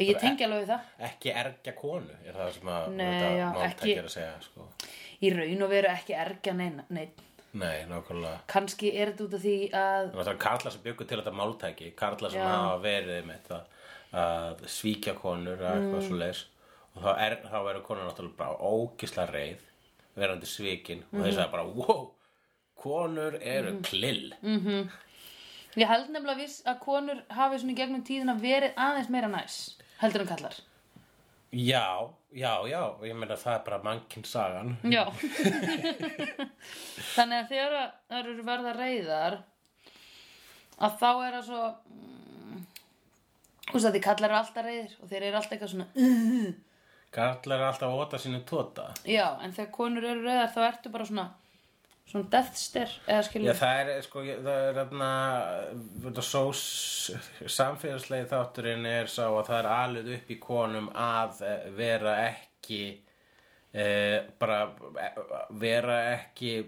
[SPEAKER 2] Ég tengi alveg við það
[SPEAKER 3] ekki ergja konu er það sem að
[SPEAKER 2] Nei,
[SPEAKER 3] þetta
[SPEAKER 2] já,
[SPEAKER 3] máltæki
[SPEAKER 2] ekki.
[SPEAKER 3] er að segja sko.
[SPEAKER 2] Í raun og veru ekki ergja neina, neinn
[SPEAKER 3] Nei, nákvæmlega.
[SPEAKER 2] Kanski er þetta út af því að
[SPEAKER 3] Það er karlar sem byggur til þetta máltæki, karlar sem
[SPEAKER 2] Já.
[SPEAKER 3] hafa verið með það að svíkja konur eða
[SPEAKER 2] Mm.
[SPEAKER 3] eitthvað svo leis og þá, er, þá eru konur náttúrulega bara ógisla reið verandi svikin
[SPEAKER 2] Mhm.
[SPEAKER 3] og þess að bara, wow, konur eru klill.
[SPEAKER 2] Ég held nefnilega viss að konur hafi svona í gegnum tíðina verið aðeins meira næs heldur en kallar
[SPEAKER 3] Já, já, já, ég meina það er bara mannkinn sagan.
[SPEAKER 2] Já Þannig að þegar að þær eru verða reyðar að þá er það svo mm, Þú veist að því kallar eru alltaf reyðir og þeir eru alltaf eitthvað svona "Uh." "Ugh."
[SPEAKER 3] Karlar eru alltaf að óta tota. sínu tóta.
[SPEAKER 2] Já, en þegar konur eru reyðar þá ertu bara svona svona death stare eða
[SPEAKER 3] Já,
[SPEAKER 2] skilur
[SPEAKER 3] það er, sko, ég- það er þarna, þetta sós, samfélagslegi þátturinn er sá að það er alveg upp í konum að eh, vera ekki, e, bara eh, vera ekki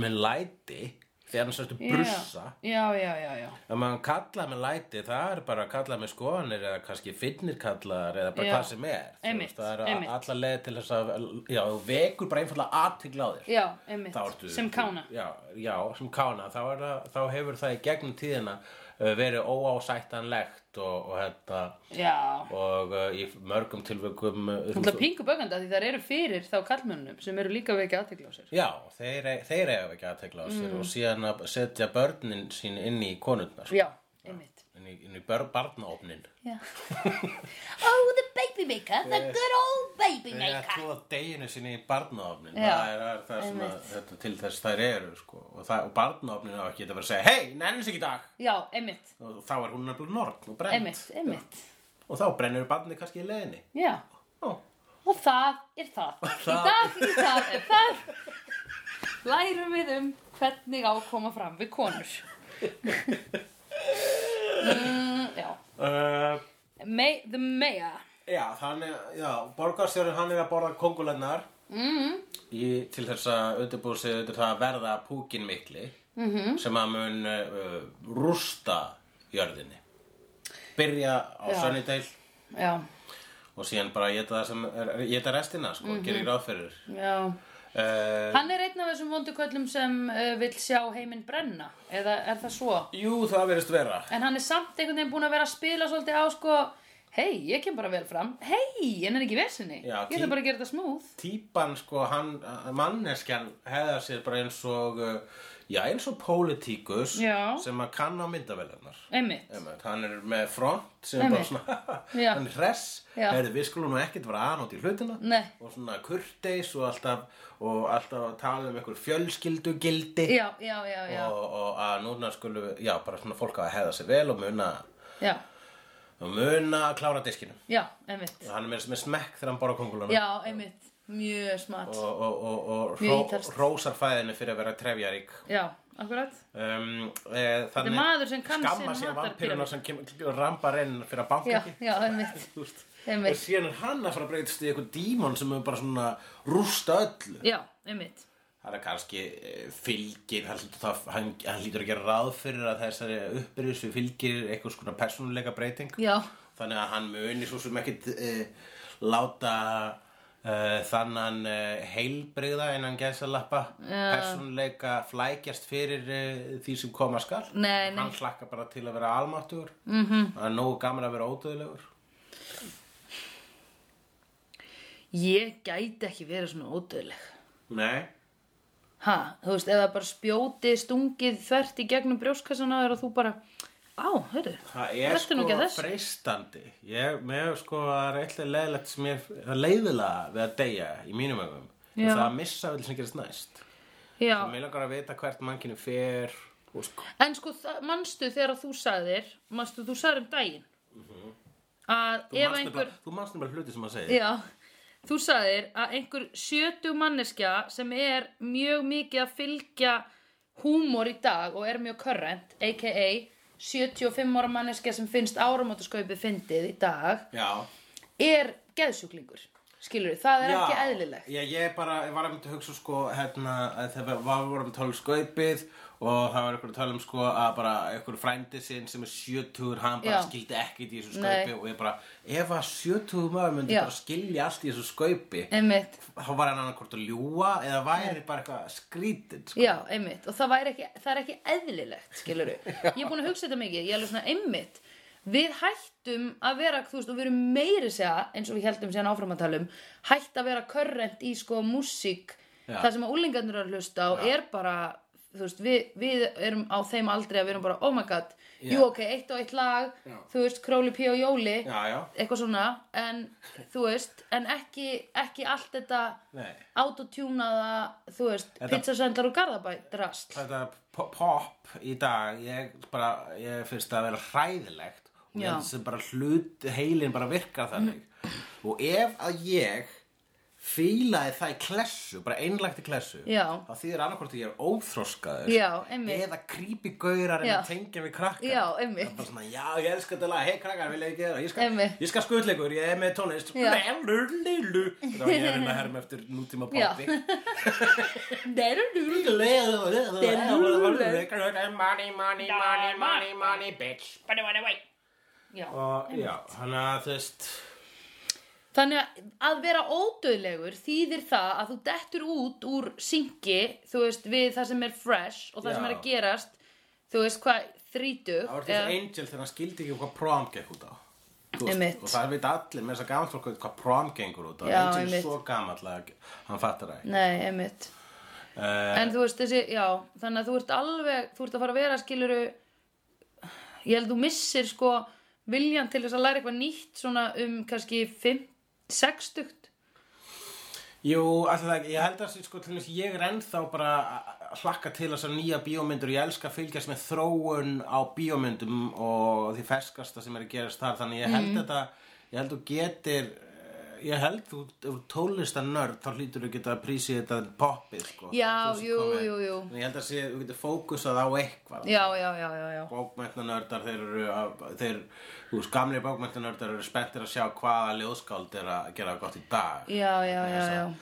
[SPEAKER 3] með læti, því annars ertu brussa.
[SPEAKER 2] Já, já, já, já
[SPEAKER 3] Ef maður kallar með læti, það er bara að kalla með skoðanir eða kannski finnir kallar eða bara
[SPEAKER 2] Já.
[SPEAKER 3] hvað sem er. Þú
[SPEAKER 2] Einmitt,
[SPEAKER 3] veist, það eru
[SPEAKER 2] einmitt.
[SPEAKER 3] allar leið til þess að, já, þú vekur bara einfallega aðtigla á þér
[SPEAKER 2] Já, einmitt,
[SPEAKER 3] þá ertu,
[SPEAKER 2] sem kána
[SPEAKER 3] já, já, sem kána þá, er, það- þá hefur það í gegnum tíðina uh, verið óásættanlegt og, og þetta
[SPEAKER 2] Já,
[SPEAKER 3] og uh, í mörgum uh, tilvökum
[SPEAKER 2] Það er pingu bögandi að því þær eru fyrir þá kallmönnum sem eru líka veikið aðtekla á sér.
[SPEAKER 3] já, þeir, e- þeir eiga ekki að tegla á sér og síðan að setja börnin sín inn í konurnar
[SPEAKER 2] Mm. Já, einmitt.
[SPEAKER 3] inn í, inn í bör, barnaofnin
[SPEAKER 2] Já.
[SPEAKER 1] Oh, the baby maker, the good old baby
[SPEAKER 3] Þeir er
[SPEAKER 1] maker.
[SPEAKER 3] að tróða deginu sinni í barnaofnin
[SPEAKER 2] Já,
[SPEAKER 3] það er, það er það sem að, þetta, til þess þær eru sko. og, það, og barnaofnin á ekki að vera að segja hei, nennis ekki í dag
[SPEAKER 2] Já, einmitt,
[SPEAKER 3] og þá er hún nefnilega norn og brennt
[SPEAKER 2] einmitt, einmitt.
[SPEAKER 3] og þá brennur barnið kannski í leiðinni
[SPEAKER 2] Já,
[SPEAKER 3] Ó,
[SPEAKER 2] og það er það. Í
[SPEAKER 3] Það-
[SPEAKER 2] dag, í dag er það. Lærum við um hvernig á að koma fram við konur. mm, já,
[SPEAKER 3] Uh,
[SPEAKER 2] May, the mayor.
[SPEAKER 3] já, þannig, já, borgarstjórinn hann er að borða kongulennar
[SPEAKER 2] Mm-hmm.
[SPEAKER 3] í, til þess að undirbúið sig undir það að verða púkin mikli
[SPEAKER 2] Mm-hmm.
[SPEAKER 3] -hmm. sem að mun uh, rústa jörðinni byrja á
[SPEAKER 2] Já.
[SPEAKER 3] Sunnydale
[SPEAKER 2] Já,
[SPEAKER 3] og síðan bara geta það sem er, geta restina sko,
[SPEAKER 2] Mhm.
[SPEAKER 3] gerir ráð fyrir
[SPEAKER 2] já.
[SPEAKER 3] uh,
[SPEAKER 2] Hann er einn af þessum vonduköllum sem uh, vill sjá heiminn brenna, eða er það svo?
[SPEAKER 3] Jú, það verðist vera
[SPEAKER 2] En hann er samt einhvern veginn búinn að vera að spila svolítið á sko Hei, ég kem bara vel fram Hei, en er ekki vesinni Ég
[SPEAKER 3] Já,
[SPEAKER 2] ætla
[SPEAKER 3] tí-
[SPEAKER 2] bara að gera þetta smúð
[SPEAKER 3] típan sko hann, manneskjan hefðar sér bara eins og uh, já eins og pólitíkus
[SPEAKER 2] Já.
[SPEAKER 3] sem að kann á myndavélarnar
[SPEAKER 2] Einmitt
[SPEAKER 3] Einmitt, hann er með front sem er bara
[SPEAKER 2] Einmitt.
[SPEAKER 3] svona
[SPEAKER 2] Já.
[SPEAKER 3] hann er hress,
[SPEAKER 2] Já.
[SPEAKER 3] heyrðu við skulum nú ekkert vera aðnátt í hlutina
[SPEAKER 2] Nei.
[SPEAKER 3] og svona kurteis og alltaf og alltaf að tala um einhver fjölskyldugildi
[SPEAKER 2] Já, já, já, já,
[SPEAKER 3] og, og að núna skulum við, já bara svona fólk á að hefða sér vel og muna
[SPEAKER 2] já,
[SPEAKER 3] og muna að klára diskinu
[SPEAKER 2] já, einmitt
[SPEAKER 3] hann er með, með smekk þegar hann borða kongulana
[SPEAKER 2] Já, einmitt, mjög smart
[SPEAKER 3] og, og, og, og
[SPEAKER 2] Mjög
[SPEAKER 3] ró,
[SPEAKER 2] ítalskt.
[SPEAKER 3] rósar fæðinu fyrir að vera trefjarík
[SPEAKER 2] Já, akkurat
[SPEAKER 3] um, e,
[SPEAKER 2] Þetta er maður sem kann
[SPEAKER 3] skamma
[SPEAKER 2] sinn
[SPEAKER 3] sér vampiruna
[SPEAKER 2] matarpíramída.
[SPEAKER 3] sem kem, rampar inn fyrir að banka
[SPEAKER 2] Já,
[SPEAKER 3] ekki
[SPEAKER 2] já, einmitt
[SPEAKER 3] Þú veist. og
[SPEAKER 2] Einmitt,
[SPEAKER 3] síðan er hann að fara að breytast í eitthvað dímon sem er bara svona rústa öllu
[SPEAKER 2] já, einmitt
[SPEAKER 3] það er kannski eh, fylgir hann hlýtur, það, hann, hann hlýtur að gera ráð fyrir að þessari uppbyrðis við fylgir eitthvað svona persónuleika breyting
[SPEAKER 2] Já,
[SPEAKER 3] þannig að hann muni svo sem ekkit uh, láta uh, þannan uh, heilbrigða innan gæðsalappa persónuleika flækjast fyrir uh, því sem koma skal
[SPEAKER 2] Nei, Mhm. nei.
[SPEAKER 3] hann hlakka bara til að vera almáttugur mm -hmm. hann er nógu gaman að vera ódöðlegur
[SPEAKER 2] ég gæti ekki verið svona ódöðleg
[SPEAKER 3] nei
[SPEAKER 2] Ha, þú veist, eða bara spjóti stungið þvert í gegnum brjóskassana og þú bara Á, heyrðu,
[SPEAKER 3] Það er
[SPEAKER 2] Vertu nú ekki að
[SPEAKER 3] sko
[SPEAKER 2] þessu.
[SPEAKER 3] freistandi. Ég, mér sko, það er eitthvað leiðilegt sem ég, það er leiðilega við að deyja í mínum ögum.
[SPEAKER 2] Já.
[SPEAKER 3] Það er að missa við sem gerist næst.
[SPEAKER 2] já
[SPEAKER 3] Og mér langar að vita hvert mannkinu fer og sko.
[SPEAKER 2] En sko, þa- manstu þegar þú sagðir, manstu þú sagðir um daginn, að
[SPEAKER 3] Mhm. Þú
[SPEAKER 2] ef
[SPEAKER 3] manst
[SPEAKER 2] einhver,
[SPEAKER 3] nefnilega- Þú manst nefnilega hluti sem að segja.
[SPEAKER 2] já, þú sagðir að einhver sjötug manneskja sem er mjög mikið að fylgja húmor í dag og er mjög current, a.k.a. 75 ára manneskja sem finnst áramótaskaupið fyndið í dag,
[SPEAKER 3] Já.
[SPEAKER 2] er geðsjúklingur. skilur það er ekki
[SPEAKER 3] Já.
[SPEAKER 2] eðlilegt
[SPEAKER 3] Já, ég bara, ég var einmitt að hugsa sko hérna, að þegar við var- vorum að tala um skaupið og það var einhver að tala um sko að bara einhver frændi sinn sem er 70 hann bara
[SPEAKER 2] Já.
[SPEAKER 3] skildi ekkit í þessu
[SPEAKER 2] Nei.
[SPEAKER 3] skaupi og ég bara, ef að 70 maður myndi
[SPEAKER 2] Já.
[SPEAKER 3] bara skilja allt í þessu skaupi
[SPEAKER 2] einmitt
[SPEAKER 3] þá var hann annarkvort að ljúga eða væri bara eitthvað skrítið sko.
[SPEAKER 2] Já, einmitt, og það, væri ekki, það er ekki eðlilegt, skilur Ég er búin að hugsa þetta mikið, ég er alveg svona einmitt Við hættum að vera, þú veist, og við erum meiri segja, eins og við heldum síðan áfram að tala um Hætt að vera körrent í sko músík,
[SPEAKER 3] Já.
[SPEAKER 2] það sem að úlingarnir eru að hlusta og er bara, þú veist, við, við erum á þeim aldrei að við erum bara, oh my god,
[SPEAKER 3] Já.
[SPEAKER 2] jú ok, eitt og eitt lag,
[SPEAKER 3] Já.
[SPEAKER 2] þú veist, króli, pí og jóli
[SPEAKER 3] já, já.
[SPEAKER 2] eitthvað svona en þú veist, en ekki, ekki allt þetta
[SPEAKER 3] Nei.
[SPEAKER 2] autotúnaða, þú veist,
[SPEAKER 3] Þetta-
[SPEAKER 2] pizzasendlar og garðabætt rast
[SPEAKER 3] þetta po- pop í dag ég, bara, ég finnst það að vera hræðilegt og
[SPEAKER 2] Já.
[SPEAKER 3] ég finnst það bara hlut heilin bara virkar þannig og ef að ég fílaði það í klessu, bara einlægt í klessu
[SPEAKER 2] Já.
[SPEAKER 3] þá þýðir annarkvort að ég er óþroskaður
[SPEAKER 2] Já, einmitt.
[SPEAKER 3] eða creepy gaurar en
[SPEAKER 2] Já.
[SPEAKER 3] að tengja við krakkar
[SPEAKER 2] Já,
[SPEAKER 3] Það er
[SPEAKER 2] einmitt
[SPEAKER 3] bara svona, já, ég elska þetta lag, hei krakkar, vil ég ekki gera það, ég skal,
[SPEAKER 2] Einmitt.
[SPEAKER 3] ég skal skutla ykkur, ég er með tónlist,
[SPEAKER 2] Já.
[SPEAKER 3] lelu, lelu, þetta var ég að reyna að herma eftir nútíma
[SPEAKER 2] Já.
[SPEAKER 3] poppi.
[SPEAKER 2] Derurú.
[SPEAKER 3] Money, money, money, money, money, bitch
[SPEAKER 2] Já.
[SPEAKER 3] Og já, hann að þú veist
[SPEAKER 2] Þannig að- að vera ódöðlegur þýðir það að þú dettur út úr syngi, þú veist, við það sem er fresh og það
[SPEAKER 3] Já.
[SPEAKER 2] sem er að gerast þú veist hvað, þrítug
[SPEAKER 3] Það var þessi Angel þegar hann skildi ekki hvað prom gekk út á Þú
[SPEAKER 2] Einmitt.
[SPEAKER 3] Og það veit allir með þess að gaman fólk veit hvað prom gengur út á
[SPEAKER 2] Já,
[SPEAKER 3] Angel
[SPEAKER 2] einmitt.
[SPEAKER 3] er svo gamall að hann fattar það ekki
[SPEAKER 2] Nei, einmitt
[SPEAKER 3] uh,
[SPEAKER 2] En þú veist þessi, já, þannig að þú ert alveg, þú ert að fara að vera skiluru, ég held þú missir sko viljan til þess að læra eitthvað nýtt svona um kannski 5, 6 stugt.
[SPEAKER 3] Jú, alltaf það ekki, ég held að sé, sko, til þess ég er ennþá bara að hlakka til þessar nýja bíómyndur og ég elska að fylgjast með þróun á bíómyndum og því ferskasta sem er að gerast þar þannig ég
[SPEAKER 2] Mhm.
[SPEAKER 3] held þetta, ég held þú getir eh, ég held þú, ef þú tólistar nörd þá hlýtur þú geta að prísi þetta poppið sko
[SPEAKER 2] Já,
[SPEAKER 3] Þú sem
[SPEAKER 2] jú,
[SPEAKER 3] kom með.
[SPEAKER 2] jú, jú.
[SPEAKER 3] En Ég held að sé, þú getur fókusað á eitthvað
[SPEAKER 2] Já, já, já, já, já.
[SPEAKER 3] bókmenntanördar þeir eru að- þeir, þú veist, gamli bókmenntanördar eru spenntir að sjá hvaða ljóðskáld er að gera gott í dag
[SPEAKER 2] Já, já, já,
[SPEAKER 3] Þess að-
[SPEAKER 2] já.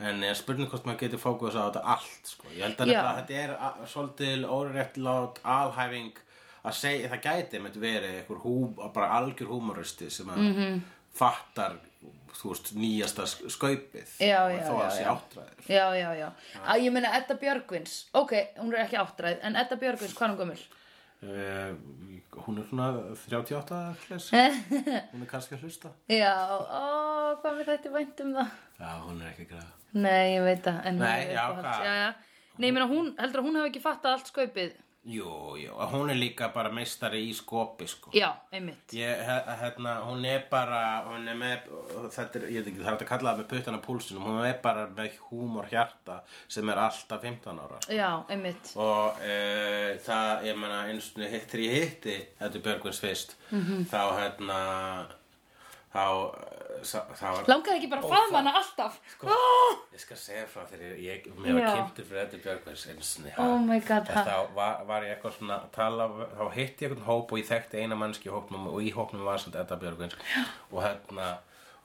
[SPEAKER 3] En ég spurning hvort maður getur fókus á þetta allt sko. Ég held
[SPEAKER 2] Já.
[SPEAKER 3] að þetta, þetta er a- svolítil óréttlát alhæfing að segja, það gæti með verið einhver hú, bara algjör húmoristi sem að
[SPEAKER 2] Mhm.
[SPEAKER 3] fattar þú veist, nýjasta sk- skaupið
[SPEAKER 2] Já,
[SPEAKER 3] og
[SPEAKER 2] já,
[SPEAKER 3] þó að
[SPEAKER 2] já,
[SPEAKER 3] sé
[SPEAKER 2] já.
[SPEAKER 3] áttræður
[SPEAKER 2] Já, já, já. Að ég meina Edda Björgvins, ok, hún er ekki áttræð, en Edda Björgvins, hvað er hún gömul?
[SPEAKER 3] uh, Hún er svona 38 hlis
[SPEAKER 2] Eh.
[SPEAKER 3] Hún er kannski að hlusta
[SPEAKER 2] Já, ó, hvað mér þætti vænt um það?
[SPEAKER 3] Já, hún er ekki græða
[SPEAKER 2] Nei, ég veit það, en hún
[SPEAKER 3] Nei,
[SPEAKER 2] er
[SPEAKER 3] já,
[SPEAKER 2] uppáhalds.
[SPEAKER 3] hvað?
[SPEAKER 2] Já, já. Nei, ég meina hún, heldur að hún hafi ekki fattað allt skaupið?
[SPEAKER 3] Jú, jú, og hún er líka bara meistari í skopi sko.
[SPEAKER 2] Já, einmitt.
[SPEAKER 3] Ég, he- hérna, hún er bara, hún er með, þetta er, ég veit ekki, það er hægt að kalla það með puttan á púlsinum, hún er bara með húmor hjarta sem er alltaf 15 ára.
[SPEAKER 2] Já, einmitt.
[SPEAKER 3] Og e, það, ég meina, eins og hitt, þegar ég hitti, þetta er Björgvins fyrst, -hmm. þá, hérna, þá, eh, sa- það var,
[SPEAKER 2] Langaði ekki bara að faðma hana alltaf sko,
[SPEAKER 3] ég skal segja frá þegar ég, ég mér
[SPEAKER 2] Já.
[SPEAKER 3] var kynntur fyrir þetta Björgvins eins og
[SPEAKER 2] Oh my god, ha.
[SPEAKER 3] Þá var, var ég eitthvað svona að tala, þá hitti ég einhvern hóp og ég þekkti eina mannski hópnum og í hópnum var samt Edda Björgvins og hérna,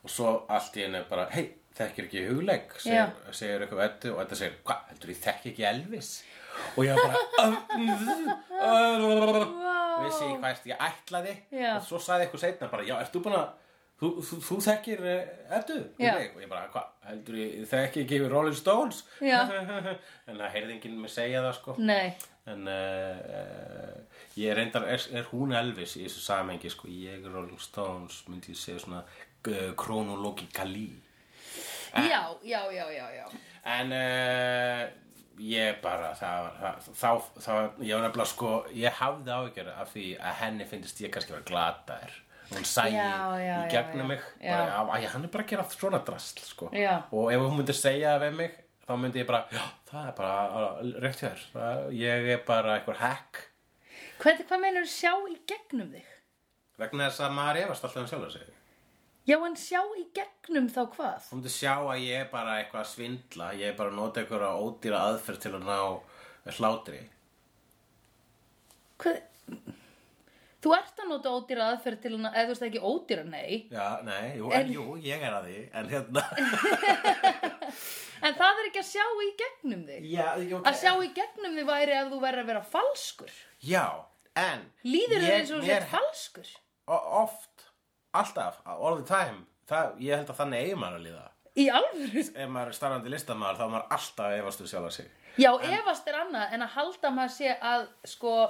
[SPEAKER 3] og svo allt í henni bara, hei, þekkir ekki hugleik, segir, segir eitthvað Eddu og Edda segir, hvað, heldur ég þekki ekki Elvis? Og ég bara, vissi ég hvað ég ætlaði
[SPEAKER 2] Já.
[SPEAKER 3] og svo sagði eitthvað seinna bara, já, ert þú búin að, þú, þú, þú þekkir eh, Eddu?
[SPEAKER 2] Já.
[SPEAKER 3] Hugleik?" Og ég bara, hvað, heldur ég þekki ekki Rolling Stones?
[SPEAKER 2] Já.
[SPEAKER 3] en það heyrði enginn með segja það sko
[SPEAKER 2] Nei,
[SPEAKER 3] en uh, uh, ég reyndar er, er hún Elvis í þessu samengi sko ég er Rolling Stones myndi ég segja svona uh, kronologikali Eh.
[SPEAKER 2] já, já, já, já, já
[SPEAKER 3] en uh, ég bara það, var- það, þá, þá ég var nefnilega sko ég hafði áhyggjur af því að henni finnist ég kannski að vera glataðir hún sæði
[SPEAKER 2] Já, já,
[SPEAKER 3] í
[SPEAKER 2] já,
[SPEAKER 3] gegnum
[SPEAKER 2] já.
[SPEAKER 3] mig
[SPEAKER 2] Já.
[SPEAKER 3] bara, að, að hann er bara að gera svona drasl sko.
[SPEAKER 2] Já.
[SPEAKER 3] og ef hún myndi segja það við mig þá myndi ég bara, já, það er bara uh, rétt hjá þér, Það- ég er bara einhver hack
[SPEAKER 2] Hvað, hvað meinar sjá í gegnum þig?
[SPEAKER 3] vegna þess að maður efast alltaf um sjálf sig
[SPEAKER 2] Já, en sjá í gegnum þá hvað?
[SPEAKER 3] þú myndir sjá að ég er bara eitthvað að svindla ég er bara að nota einhverja ódýra aðferð til að ná hlátri
[SPEAKER 2] hvað? Þú ert að nota ódýra aðferð til hana, eða þú veist ekki ódýra, nei.
[SPEAKER 3] Já, nei, jú,
[SPEAKER 2] En-
[SPEAKER 3] en jú, ég er að því En hérna
[SPEAKER 2] En það er ekki að sjá í gegnum þig.
[SPEAKER 3] já, jú,
[SPEAKER 2] Að sjá í gegnum þig væri ef þú verður að vera falskur.
[SPEAKER 3] já, en
[SPEAKER 2] Líður þér
[SPEAKER 3] ég-
[SPEAKER 2] eins og þú
[SPEAKER 3] mér-
[SPEAKER 2] sér falskur?
[SPEAKER 3] o- Oft, alltaf, all the time það, Ég held að þannig eigi maður að líða
[SPEAKER 2] Í alvöru?
[SPEAKER 3] Ef maður er starfandi listamaður þá er maður alltaf að efastu sjálf að sig
[SPEAKER 2] Já, efast er annað en að halda maður sé að, sko,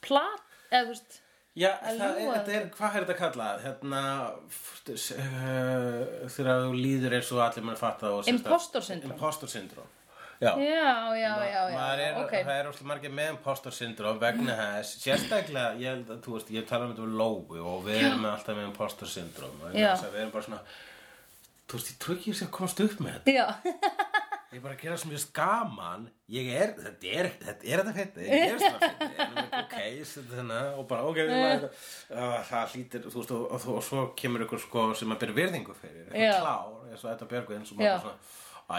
[SPEAKER 2] plat, eða þú veist,
[SPEAKER 3] Já,
[SPEAKER 2] Að
[SPEAKER 3] það er,
[SPEAKER 2] ljúga.
[SPEAKER 3] þetta er, hvað er þetta kallað? Hérna, f- s- eh, þegar þú líður eins og allir mann fatta og sérst að-
[SPEAKER 2] Impostor syndrome.
[SPEAKER 3] Impostor syndrome, já.
[SPEAKER 2] já, já, já, já,
[SPEAKER 3] Maður
[SPEAKER 2] já,
[SPEAKER 3] er,
[SPEAKER 2] ok.
[SPEAKER 3] Það er óslega margir með impostor syndrome vegna þess, sérstaklega, ég held að, þú veist, ég tala um þetta um lógu og við erum alltaf með impostor syndrome. vegna
[SPEAKER 2] Já.
[SPEAKER 3] þess að Við erum bara svona, þú veist, ég trú ekki að komast upp með þetta.
[SPEAKER 2] Já,
[SPEAKER 3] Ég er bara að gera svo mjög skaman, ég er, þetta er, þetta er þetta fyndi, ég er þetta fyndi, en þú veit, ok, ég seti þennan hérna, og bara, ok, þú maður,
[SPEAKER 2] Mm.
[SPEAKER 3] uh, það hlýtir, þú veist, og, og, og svo kemur ykkur sko sem að byrja virðingu
[SPEAKER 2] Já.
[SPEAKER 3] fyrir, eitthvað klár, eins og þetta björgu, eins og
[SPEAKER 2] Já.
[SPEAKER 3] maður bara svona,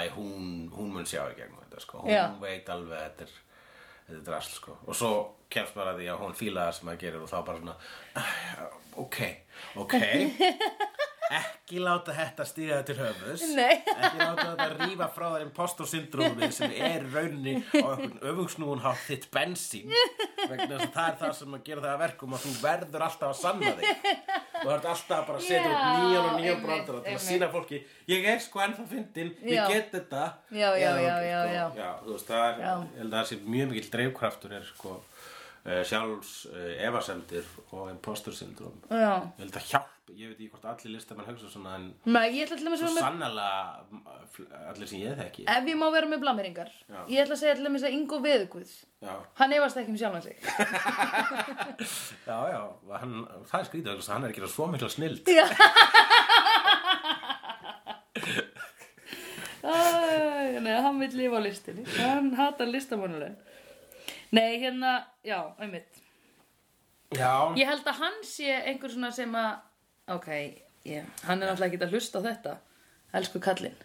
[SPEAKER 3] æ, hún, hún mun sjá í gegnum þetta, sko, hún
[SPEAKER 2] Já.
[SPEAKER 3] veit alveg að þetta er, þetta er drasl, sko, og svo kemst bara að því að hún fíla það sem það gerir og þá bara svona, "Æ, ok, ok, ekki láta þetta stýra þetta til höfus
[SPEAKER 2] Nei.
[SPEAKER 3] ekki láta þetta rífa frá þær impostorsyndrómið sem er í rauninni á einhvern öfungsnúun hátt þitt bensín vegna þess að það er það sem að gera það að verkum að þú verður alltaf að sanna þig og það er alltaf bara að setja upp
[SPEAKER 2] Já,
[SPEAKER 3] nýjan og nýjan
[SPEAKER 2] einmitt,
[SPEAKER 3] brandara til að
[SPEAKER 2] einmitt.
[SPEAKER 3] sína fólki ég er sko ennþá fyndin,
[SPEAKER 2] Já.
[SPEAKER 3] ég get þetta
[SPEAKER 2] Já, já,
[SPEAKER 3] Eða,
[SPEAKER 2] já, já,
[SPEAKER 3] sko,
[SPEAKER 2] já.
[SPEAKER 3] já, þú veist, það er,
[SPEAKER 2] Já.
[SPEAKER 3] ég held að það sé mjög mikill dreifkraftur er sko eh, sjálfs eh, efasemdir og impostorsyndróm
[SPEAKER 2] já.
[SPEAKER 3] Ég held að hjálp, ég veit ekki hvort allir listamenn hugsa svona en
[SPEAKER 2] Nei, ég ætla til dæmis að
[SPEAKER 3] svo
[SPEAKER 2] vera með
[SPEAKER 3] sannlega m- fl- allir sem ég þekki.
[SPEAKER 2] Ef ég má vera með blameringar
[SPEAKER 3] Já.
[SPEAKER 2] Ég ætla að segja til dæmis að Ingo Veðugvið
[SPEAKER 3] Já,
[SPEAKER 2] Hann efast ekki um sjálfan sig
[SPEAKER 3] já, já, hann, það er skrítið, vegna þess að hann er ekki svo mikla snild.
[SPEAKER 2] Já Æ, Nei, hann vil lifa á listinni Hann hatar listamannuleg Nei, hérna, já, einmitt
[SPEAKER 3] Já,
[SPEAKER 2] Ég held að hann sé einhver svona sem að Ok, yeah. hann er náttúrulega ekki að hlusta á þetta Elsku kallinn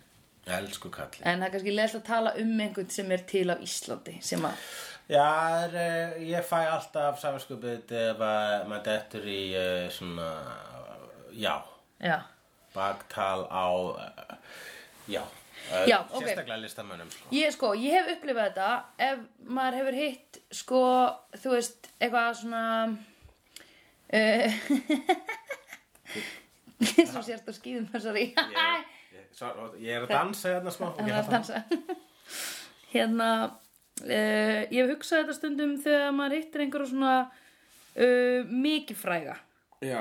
[SPEAKER 3] elsku kalli.
[SPEAKER 2] En það er kannski leðst að tala um einhvern sem er til á Íslandi Sem að,
[SPEAKER 3] Já, er, eh, ég fæ alltaf samskupið ef að maður dettur í eh, svona, já,
[SPEAKER 2] já
[SPEAKER 3] baktal á, eh, já, eh,
[SPEAKER 2] Já, ok.
[SPEAKER 3] sérstaklega listamönnum, sko.
[SPEAKER 2] Ég sko, ég hef upplifað þetta ef maður hefur hitt sko, þú veist, eitthvað svona uh, svo sérst á skýðum sorry,
[SPEAKER 3] Ég, ég, svo, ég er að dansa hérna smá. ok,
[SPEAKER 2] hann er
[SPEAKER 3] haltu
[SPEAKER 2] að dansa hérna uh, ég hef hugsað þetta stundum þegar maður hittir einhverju svona uh, mikið fræga
[SPEAKER 3] áfram. Já.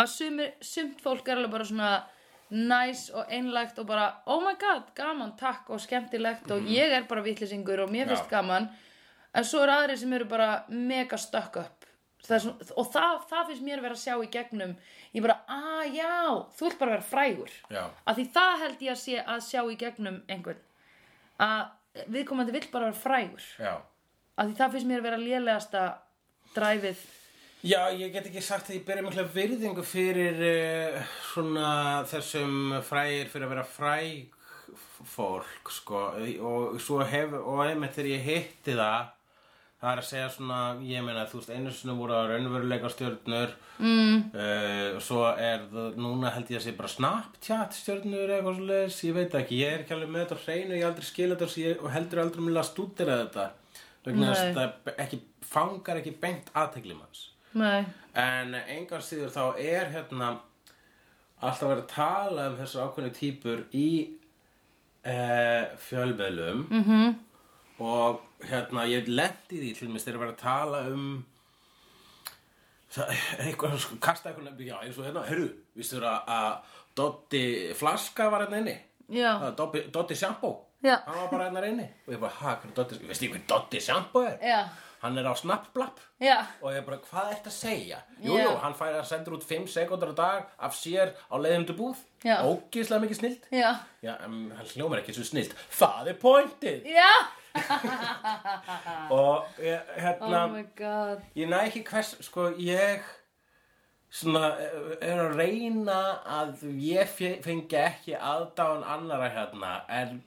[SPEAKER 2] að sumir, sumt fólk er alveg bara svona næs og einlægt og bara oh my god, gaman, takk og skemmtilegt og ég er bara vitlýsingur og mér finnst
[SPEAKER 3] Mhm. Já.
[SPEAKER 2] gaman en svo eru aðrir sem eru bara mega stökk upp það er svona, og það, það finnst mér vera að sjá í gegnum ég bara, ah já, þú vilt bara vera frægur
[SPEAKER 3] Já.
[SPEAKER 2] af því það held ég að sé að sjá í gegnum einhvern að viðkomandi vill bara vera frægur
[SPEAKER 3] Já.
[SPEAKER 2] af því það finnst mér vera lélegasta dræfið
[SPEAKER 3] Já, ég get ekki sagt að ég byrja mikla virðingu fyrir uh, svona þessum frægir fyrir að vera fræg f- fólk, sko, og svo hef, og einmitt þegar ég hitti það, það er að segja svona, ég meina, þú veist, einu sinni voru að raunveruleika stjörnur, mm. svo er það, núna held ég að sé bara Snapchat stjörnur eða eitthvað svoleiðis, ég veit ekki, ég er ekki alveg með þetta á hreinu, ég hef aldrei skil þetta svo ég, og heldur aldrei mjög að stúdera þetta, vegna þess
[SPEAKER 2] Nei.
[SPEAKER 3] að þetta ekki, fangar ekki beint aðtegli manns.
[SPEAKER 2] nei,
[SPEAKER 3] En engar síður þá er hérna alltaf verið að tala um þessar ákveðnu típur í e, fjölmiðlum -hmm.
[SPEAKER 2] Mhm.
[SPEAKER 3] og hérna ég lendi því til mér þegar verið að tala um það- eitthvað, sko, kasta eitthvað já, eins og hérna, heyrðu, vistur að, að Dotti Flaska var hérna inni
[SPEAKER 2] já
[SPEAKER 3] Það var Dobbi- Dotti Sjampó
[SPEAKER 2] Já.
[SPEAKER 3] hann var bara hérna inni og ég bara, ha, hvernig Dotti, veist ég hver Dotti Sjampó er?
[SPEAKER 2] Já.
[SPEAKER 3] hann er á Snapblab
[SPEAKER 2] já,
[SPEAKER 3] og ég bara, hvað ert að segja? Jú,
[SPEAKER 2] Já.
[SPEAKER 3] jú, hann fær að senda út 5 sekundar á dag af sér á leiðum til búð
[SPEAKER 2] Já.
[SPEAKER 3] ógislega mikið snilt
[SPEAKER 2] já,
[SPEAKER 3] Já, um, hann hljómar ekki svo snilt Það er pointið
[SPEAKER 2] já.
[SPEAKER 3] Og ég, hérna,
[SPEAKER 2] Oh my god
[SPEAKER 3] ég næ ekki hvers, sko, ég svona, eh, er að reyna að ég fe- fengi ekki aðdáun annara hérna en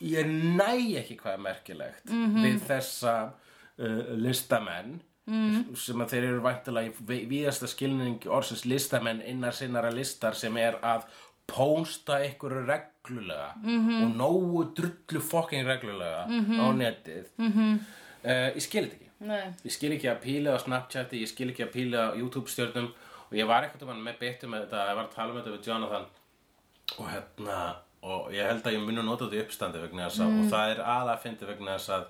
[SPEAKER 3] ég næ ekki hvað er merkilegt við þessa uh, eh, listamenn mm. sem að þeir eru væntalega í vi- víðasta skilning orðsins listamenn innar sinnara listar sem er að pósta einhverju reglulega -hmm. og nógu drullu fokking reglulega á netið mm -hmm. ég skil þetta ekki
[SPEAKER 2] Nei.
[SPEAKER 3] ég skil ekki að píla á Snapchati ég skil ekki að píla á YouTube stjörnum og ég var eitthvað með betur með þetta ég var að tala um þetta við Jonathan og hérna og ég held að ég muni að nota þetta í uppstandi vegna þess að
[SPEAKER 2] Mm.
[SPEAKER 3] og það er aðað að fyndi vegna þess að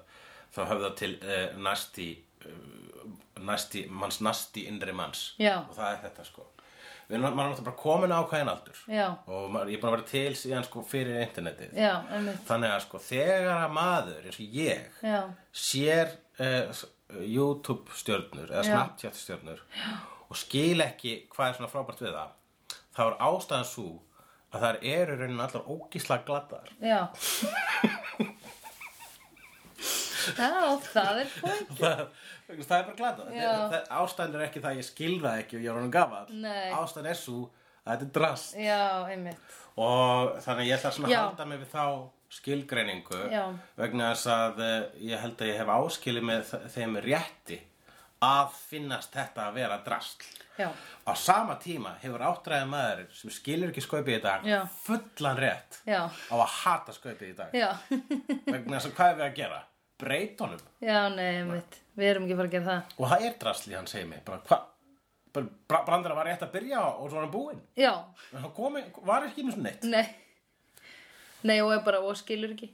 [SPEAKER 3] þá höfða til uh, næsti uh, næsti, manns næsti innri manns
[SPEAKER 2] Já.
[SPEAKER 3] og það er þetta sko við erum maður er náttúrulega bara komin á ákveðin aldur
[SPEAKER 2] Já.
[SPEAKER 3] og maður, ég er bara að vera til síðan sko fyrir internetið
[SPEAKER 2] Já, einmitt.
[SPEAKER 3] þannig að sko þegar að maður eins og ég
[SPEAKER 2] Já.
[SPEAKER 3] sér uh, YouTube stjörnur eða
[SPEAKER 2] Já.
[SPEAKER 3] Snapchat stjörnur og skil ekki hvað er svona frábært við það þá er ástæðan svo að þar eru í rauninni allar ógísla gladdar
[SPEAKER 2] Já. Já, það er fólk.
[SPEAKER 3] það, það er bara gladdar
[SPEAKER 2] Já.
[SPEAKER 3] það, ástæðan er ekki það að ég skil það ekki og ég er hann gafall
[SPEAKER 2] Nei.
[SPEAKER 3] ástæðan er svo að þetta er drast
[SPEAKER 2] Já, einmitt.
[SPEAKER 3] og þannig að ég ætla svona að
[SPEAKER 2] Já.
[SPEAKER 3] halda mig við þá skilgreiningu
[SPEAKER 2] Já.
[SPEAKER 3] vegna þess að eh, ég held að ég hef áskilið með þ- þeim rétti að finnast þetta að vera drastl
[SPEAKER 2] Já.
[SPEAKER 3] á sama tíma hefur áttræði maður sem skilur ekki skaupið í dag
[SPEAKER 2] Já.
[SPEAKER 3] fullan rétt
[SPEAKER 2] Já.
[SPEAKER 3] á að hata skaupið í dag
[SPEAKER 2] Já.
[SPEAKER 3] vegna þess að hvað er við að gera? breyta honum
[SPEAKER 2] Já, nei, einmitt. Við erum ekki að fara að gera það.
[SPEAKER 3] og það er drasli hann segir mig bara hvað? Bara Bra- Brandara var rétt að byrja og svo var hann búinn
[SPEAKER 2] Já.
[SPEAKER 3] En hann komi, var ekki einu svona neitt
[SPEAKER 2] Nei. Nei, og er bara, og skilur ekki.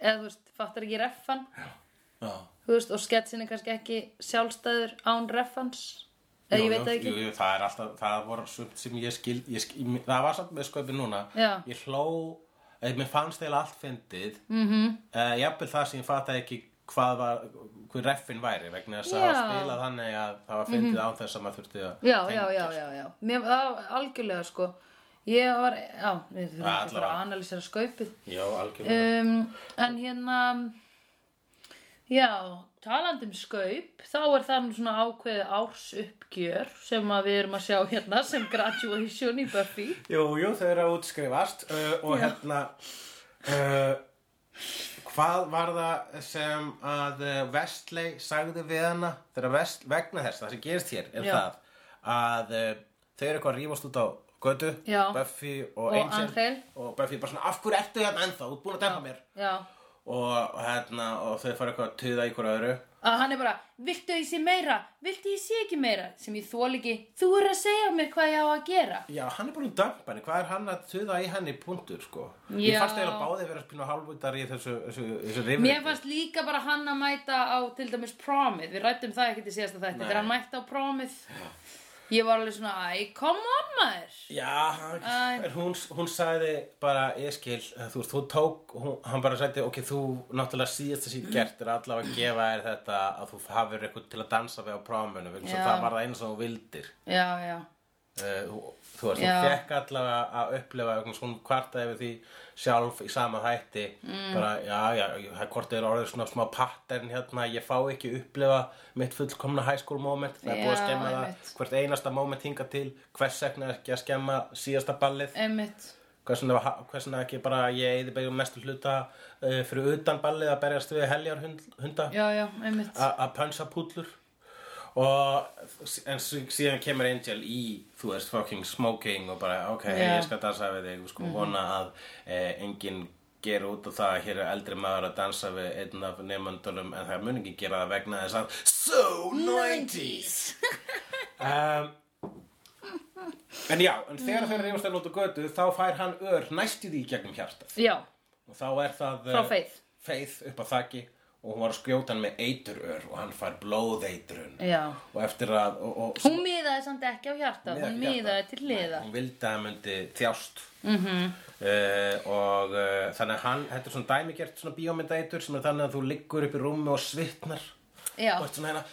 [SPEAKER 2] Eða, þú veist, fattar ekki reffan.
[SPEAKER 3] Já.
[SPEAKER 2] Þú veist, og sketsin er kannski ekki sjálfstæður án reffans. Eða, ég
[SPEAKER 3] Jú,
[SPEAKER 2] veit það
[SPEAKER 3] jú,
[SPEAKER 2] ekki.
[SPEAKER 3] jú, jú, það er alltaf, það voru sumt sem ég skil, ég skil það var samt með skaupið núna
[SPEAKER 2] Já.
[SPEAKER 3] ég hló, eða mér fannst eða allt fyndið mm
[SPEAKER 2] Mhm.
[SPEAKER 3] -hmm. jafnvel það sem ég fattaði ekki hvað var hver reffin væri vegna þess að það var
[SPEAKER 2] Já. Mhm.
[SPEAKER 3] spilað þannig að það var fyndið án þess að maður þurfti að
[SPEAKER 2] Já, já, já, já, já. Mér var algjörlega, sko. Ég var, já, við þurfum
[SPEAKER 3] Ja,
[SPEAKER 2] ekki að fara
[SPEAKER 3] allavega.
[SPEAKER 2] að analýsera skaupið.
[SPEAKER 3] já, algjörlega
[SPEAKER 2] Um, en hérna, já, talandi um skaup, þá er það nú svona ákveðið ársuppgjör sem að við erum að sjá hérna sem graduation í Buffy.
[SPEAKER 3] Jú, jú, þau eru að útskrifast uh, og hérna uh, hvað var það sem að uh, Vestley sagði við hana þegar Vest, vegna þess, það sem gerist hér er
[SPEAKER 2] Já.
[SPEAKER 3] það að uh, þau eru eitthvað að rífast út á götu
[SPEAKER 2] Já.
[SPEAKER 3] Buffy og,
[SPEAKER 2] Og
[SPEAKER 3] Angel
[SPEAKER 2] Angel.
[SPEAKER 3] og Buffy er bara svona, af hverju ertu hérna ennþá, þú ert búin að dempa mér
[SPEAKER 2] Já.
[SPEAKER 3] og hérna, og þau fara eitthvað að tuða í hverju öðru
[SPEAKER 2] Að hann er bara, viltu að ég sé meira? Viltu að ég sé ekki meira? Sem ég þól ekki, þú er að segja mér hvað ég á að gera.
[SPEAKER 3] Já, hann er bara um dampanni, hvað er hann að tuða í henni punktur, sko? Ég
[SPEAKER 2] Já.
[SPEAKER 3] fannst eiginlega báðið vera spínu hálfvitari í þessu, þessu, þessu rifri.
[SPEAKER 2] Mér fannst líka bara hann að mæta á til dæmis promið, við rættum það ekkert í síðasta þætti, þegar hann mætti á promið ég var alveg svona, æ, come on maður
[SPEAKER 3] Já, hann-
[SPEAKER 2] Æ.
[SPEAKER 3] en hún, hún sagði bara, ég skil, eh, þú veist, þú tók, hún, hann bara sagði, ok, þú náttúrulega síðast að
[SPEAKER 2] Mhm.
[SPEAKER 3] síðan gert er allavega að gefa þér þetta að þú hafir eitthvað til að dansa við á prófamönu, vegna þess
[SPEAKER 2] Já.
[SPEAKER 3] að það var það eins og þú vildir.
[SPEAKER 2] Já, já,
[SPEAKER 3] Uh, þú- þú veist,
[SPEAKER 2] Já.
[SPEAKER 3] hún fekk allavega að upplifa vegna þess að hún kvartaði við því sjálf í sama hætti,
[SPEAKER 2] Mm.
[SPEAKER 3] bara, já, já, ég- það hvort er orðið svona smá pattern hérna, ég fá ekki upplifa mitt fullkomna high school moment, það er búið að
[SPEAKER 2] Já,
[SPEAKER 3] skemma það
[SPEAKER 2] einmitt.
[SPEAKER 3] hvert einasta moment hinga til, hvers vegna er ekki að skemma síðasta ballið
[SPEAKER 2] einmitt
[SPEAKER 3] hversna, hversna ekki bara ég eði bæði mestu hluta uh, fyrir utan ballið að berjast við heljarhunda
[SPEAKER 2] Já, já, einmitt
[SPEAKER 3] a- að pönsa púllur og en sí- síðan kemur Angel í þú veist fucking smoking og bara ok,
[SPEAKER 2] Já.
[SPEAKER 3] ég skal dansa við þig við skulum vona að eh, enginn gera út á það að hér er eldri maður að dansa við einn af nefnandunum en það mun ekki gera það vegna þess að SO 90s um, En já, en þegar mm. þeir reyfast að nota götu þá fær hann ör næstu því í gegnum hjartað
[SPEAKER 2] Já,
[SPEAKER 3] og þá er það
[SPEAKER 2] Frá
[SPEAKER 3] eh,
[SPEAKER 2] Faith.
[SPEAKER 3] Faith upp að þakki og hún var að skjóta hann með eiturör og hann fær blóðeitrun
[SPEAKER 2] já
[SPEAKER 3] og eftir að og, og,
[SPEAKER 2] Hún miðaði samt ekki á hjarta, hún
[SPEAKER 3] Miðaði ekki hjartað.
[SPEAKER 2] miðaði til hliðar
[SPEAKER 3] hún vildi að hann myndi þjást mm
[SPEAKER 2] Mhm.
[SPEAKER 3] og uh, þannig að hann, þetta er svona dæmigert svona bíómyndaitur sem er þannig að þú liggur upp í rúmi og svitnar
[SPEAKER 2] Já,
[SPEAKER 3] og ert svona hérna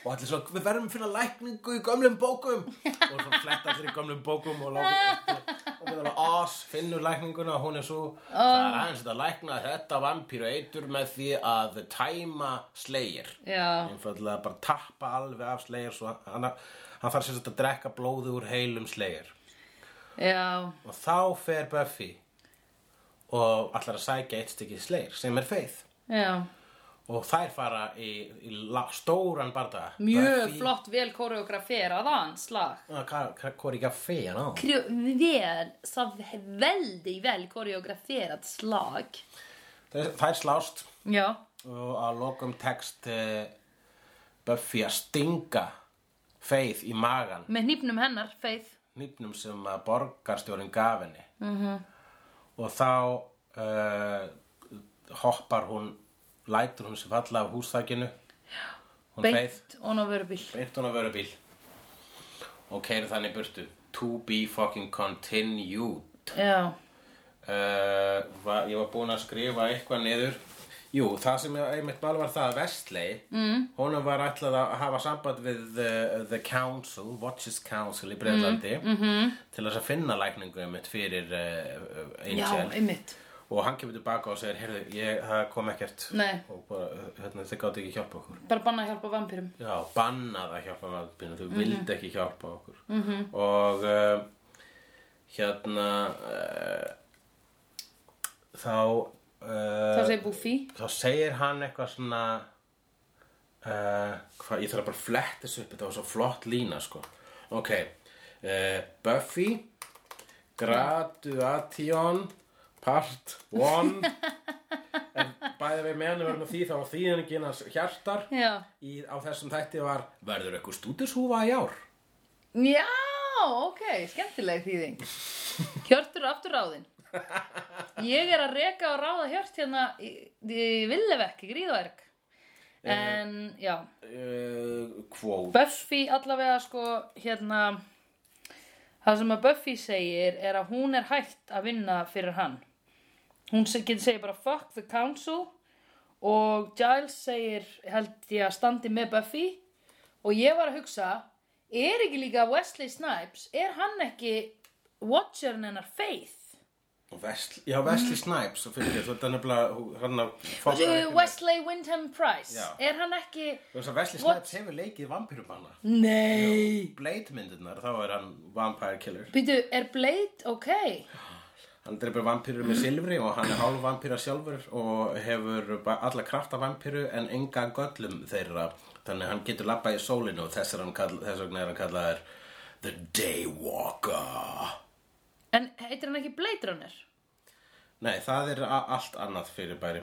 [SPEAKER 3] og allir svo við verðum að finna lækningu í gömlum bókum og svo fletta allir í gömlum bókum og láta og við erum að ás finnur lækninguna og hún er svo það er aðeins þetta að lækna þetta vampíru eitur með því að tæma slegir
[SPEAKER 2] já,
[SPEAKER 3] einfallega bara tappa alveg af slegir svo hann, hann þarf sérst að drekka blóði úr heilum slegir
[SPEAKER 2] já
[SPEAKER 3] og þá fer Buffy og allar að sækja eitt stykki slegir sem er feið
[SPEAKER 2] Já,
[SPEAKER 3] og þær fara í, í la, stóran barða
[SPEAKER 2] Mjög flott vel koreograferaðan slag.
[SPEAKER 3] Ah, Hvor ekki að feja ná
[SPEAKER 1] Krö- Vel, så väldigt väl koreograferat slag.
[SPEAKER 3] Þær þær slást
[SPEAKER 2] Já,
[SPEAKER 3] og að lokum text uh, Buffy að stinga Faith í magan
[SPEAKER 2] með hnýpnum hennar, Faith.
[SPEAKER 3] nýpnum sem að borgarstjórin gaf henni
[SPEAKER 2] Mhm.
[SPEAKER 3] -hmm. og þá uh, hoppar hún lætur hún sem falla af húsþakinu hún beint,
[SPEAKER 2] Beint og náður bíl.
[SPEAKER 3] beint hún á vörubíl og keiri þannig burtu to be fucking continued
[SPEAKER 2] Já,
[SPEAKER 3] uh, va, ég var búinn að skrifa eitthvað niður Jú, það sem ég einmitt mál var það að Vestley mm. honum var ætlað að hafa samband við uh, The Council, Watches Council í Breitlandi
[SPEAKER 2] Mm,
[SPEAKER 3] -hmm.
[SPEAKER 2] mhm.
[SPEAKER 3] til þess að finna lækningu einmitt fyrir uh,
[SPEAKER 2] já,
[SPEAKER 3] Angel
[SPEAKER 2] einmitt.
[SPEAKER 3] og hann kemur tilbaka og segir, heyrðu, ég, það kom ekkert
[SPEAKER 2] Nei.
[SPEAKER 3] og bara, hérna, þið gátt ekki hjálpa okkur
[SPEAKER 2] Bara banna að hjálpa vampýrum.
[SPEAKER 3] Já, bannað að hjálpa valdbínu, þau mm
[SPEAKER 2] Mhm.
[SPEAKER 3] vildi ekki hjálpa okkur. -hmm. Og uh, hérna, uh, þá,
[SPEAKER 2] Þá
[SPEAKER 3] uh,
[SPEAKER 2] segir Buffy.
[SPEAKER 3] þá segir hann eitthvað svona, uh, hvað, ég þarf að bara að fletta þessu upp, þetta var svo flott lína, sko. Ok, uh, Buffy, Graduation, Part 1, en bæði við meðan við verðum að því þá var þýðingin hans hjartar
[SPEAKER 2] Já.
[SPEAKER 3] í, á þessum þætti var verður eitthvað stúdishúfa í ár
[SPEAKER 2] Já, ok, skemmtileg þýðing. Hjörtur er aftur ráðin. Ég er að reka og ráða hjört hérna í, í Villevekk, í Gríðverk. En, já,
[SPEAKER 3] uh, kvót
[SPEAKER 2] Buffy allavega sko, hérna, það sem að Buffy segir er að hún er hægt að vinna fyrir hann. Hún se- getur segir bara fuck the council og Giles segir held ég að standi með Buffy og ég var að hugsa er ekki líka Wesley Snipes er hann ekki watcherin hennar Faith
[SPEAKER 3] og Vesl, já, Vesli Snipes og fyrir þú ert að nefnilega hérna hann að fóta
[SPEAKER 2] uh, Wesley Windham Price
[SPEAKER 3] Já.
[SPEAKER 2] er hann ekki
[SPEAKER 3] Vesli
[SPEAKER 2] What?
[SPEAKER 3] Snipes hefur leikið vampýrumanna
[SPEAKER 2] nei
[SPEAKER 3] Blade myndirnar, þá er hann vampire killer
[SPEAKER 2] býtu er Blade ok
[SPEAKER 3] hann dreipur vampýrur með silfri og hann er hálf vampýra sjálfur og hefur ba- alla krafta vampýru en enga göllum þeirra þannig að hann getur labba í sólinu og þess, er hann kall, þess vegna er hann kallaðar The Daywalker
[SPEAKER 2] en heitir hann ekki Blade Runner
[SPEAKER 3] Nei, það er a- allt annað fyrirbæri.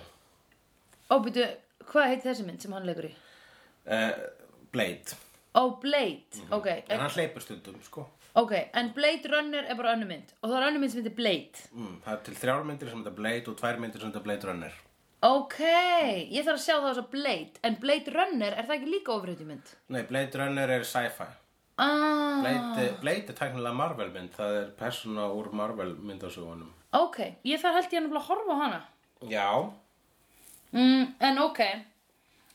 [SPEAKER 2] ó býtu hvað heitir þessi mynd sem hann leikur í
[SPEAKER 3] Uh, Blade.
[SPEAKER 2] ó Blade ok
[SPEAKER 3] En
[SPEAKER 2] en,
[SPEAKER 3] hann hleypur stundum, sko.
[SPEAKER 2] ok en Blade Runner er bara önnum mynd og það er önnum mynd sem heitir Blade
[SPEAKER 3] Mm, það er til þrjár myndir sem þetta Blade og tvær myndir sem þetta Blade Runner.
[SPEAKER 2] Ok, ég þarf að sjá það á þess að Blade En Blade Runner, er það ekki líka ofröðu mynd?
[SPEAKER 3] Nei, Blade Runner er sci-fi.
[SPEAKER 2] Ah,
[SPEAKER 3] Blade, Blade er tæknilega Marvel mynd. Það er persóna úr Marvel myndasögunum.
[SPEAKER 2] ok Ég þarf held ég nefnilega að horfa á hana
[SPEAKER 3] Já.
[SPEAKER 2] mm, En ok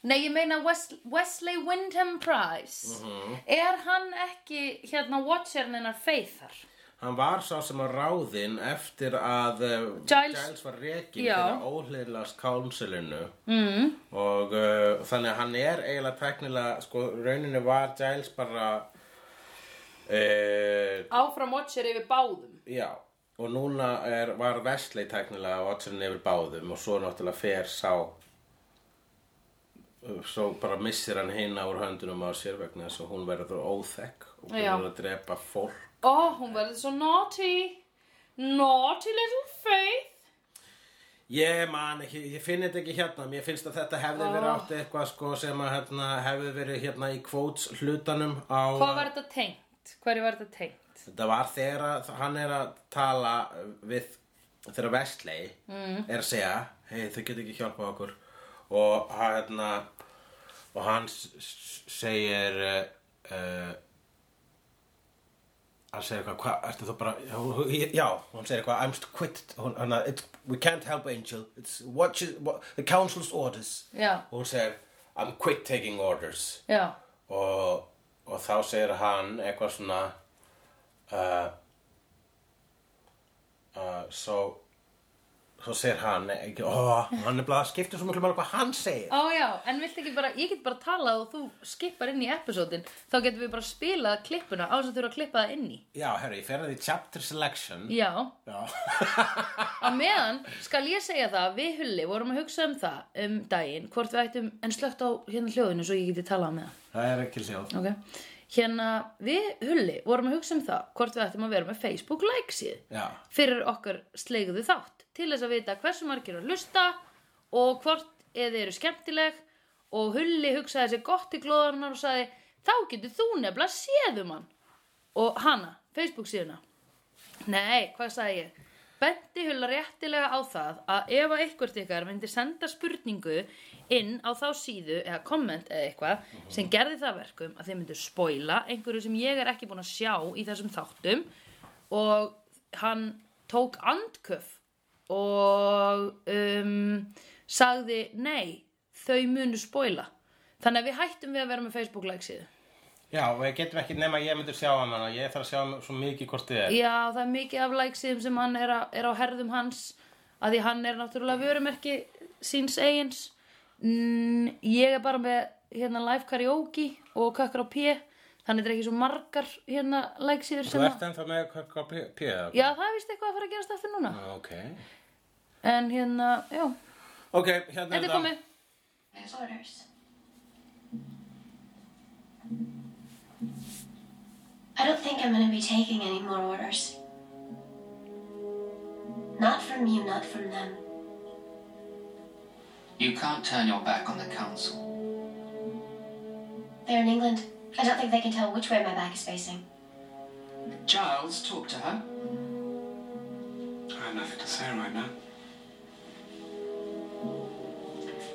[SPEAKER 2] Nei, ég meina Wes Wesley Windham Price Er hann ekki hérna Watcherin hennar Faithar?
[SPEAKER 3] Hann var sá sem að ráðinn eftir að uh,
[SPEAKER 2] Giles-
[SPEAKER 3] var rekin
[SPEAKER 2] Já.
[SPEAKER 3] fyrir óhliðlast kánsilinu mm. og uh, þannig að hann er eiginlega tæknilega, sko, rauninu var Giles bara uh,
[SPEAKER 2] Áfram Watcher yfir báðum
[SPEAKER 3] Já, og núna er, var Wesley tæknilega Watson yfir báðum og svo náttúrulega fer sá svo bara missir hann hinna úr höndunum á sér vegna þess að hún verður óþekk og
[SPEAKER 2] Já.
[SPEAKER 3] verður að drepa fólk
[SPEAKER 2] Ó, hún verður svo naughty Naughty little Faith
[SPEAKER 3] Ég man ekki, ég finn þetta ekki hérna, mér finnst að þetta hefði verið
[SPEAKER 2] Ah.
[SPEAKER 3] átt eitthvað sko sem að hérna, hefði verið hérna í kvóts hlutanum á
[SPEAKER 2] Hvað var þetta tengt? Hverju var þetta tengt?
[SPEAKER 3] Þetta var þegar að hann er að tala við þegar Vestley er að segja hei þau getur ekki hjálpað okkur og hann, hérna, og hann s- s- segir uh, uh, hann segir eitthvað hvað ertu þú bara já hann segir eitthvað I'm st- quit hún, hann, að, "It's- we can't help Angel it's what you, what, the council's orders
[SPEAKER 2] Já.
[SPEAKER 3] og hún segir I'm quit taking orders
[SPEAKER 2] Já,
[SPEAKER 3] og, og þá segir hann eitthvað svona uh, uh, so svo segir hann ekki, ó, hann er bara að skipta svo miklu máli hvað hann segir
[SPEAKER 2] Á já, en vilt ekki bara, ég get bara talað og þú skipar inn í episódin þá getum við bara spilað klippuna á þess að þurfa að klippa það inn í
[SPEAKER 3] já, herru, ég fer að því chapter selection
[SPEAKER 2] Já,
[SPEAKER 3] já,
[SPEAKER 2] á meðan skal ég segja það við Hulli vorum að hugsa um það um daginn hvort við ættum, en slögt á hérna hljóðinu svo ég geti talað með það
[SPEAKER 3] það er ekki hljóð
[SPEAKER 2] Ok, hérna við Hulli vorum að hugsa um það hvort við ættum að vera með Facebook likes síð
[SPEAKER 3] já,
[SPEAKER 2] fyrir okkar sleigðu þátt til þess að vita hversu margir eru að hlusta og hvort eða eru skemmtileg og Hulli hugsaði sér gott í glóðarinnar og sagði þá getur þú nefnilega séðum hann og hana, Facebook síðuna Nei, hvað sagði ég? Benti Hulla réttilega á það að ef að eitthvert ykkar myndi senda spurningu inn á þá síðu eða komment eða eitthvað sem gerði það verkum að þeir myndu spoila einhverju sem ég er ekki búin að sjá í þessum þáttum og hann tók andköf og um, sagði nei, þau munu spoila. Þannig að við hættum við að vera með Facebook-like síðu.
[SPEAKER 3] já, og ég getum ekki nema að ég myndir sjá hann og ég þarf að sjá svo mikið hvort þið er
[SPEAKER 2] Já, það er mikið af læksíðum sem hann er, a, er á herðum hans að því hann er náttúrulega vörumerki síns eigins mm, Ég er bara með hérna live karaoke og kökkur á P þannig þetta er ekki svo margar hérna læksíður
[SPEAKER 3] þú
[SPEAKER 2] sem
[SPEAKER 3] ert ennþá með hvað- hvað pí- píða
[SPEAKER 2] Já, það er vist eitthvað að fara að gerast eftir núna
[SPEAKER 3] ok,
[SPEAKER 2] En hérna, já,
[SPEAKER 3] ok, hérna
[SPEAKER 2] þetta er komið
[SPEAKER 4] There's orders. I don't think I'm going to be taking any more orders. Not from you, not from them.
[SPEAKER 5] You can't turn your back on the council.
[SPEAKER 4] They're in England. I don't think they can tell which way my back is facing.
[SPEAKER 5] Giles, talk to her.
[SPEAKER 6] I have nothing to say right now.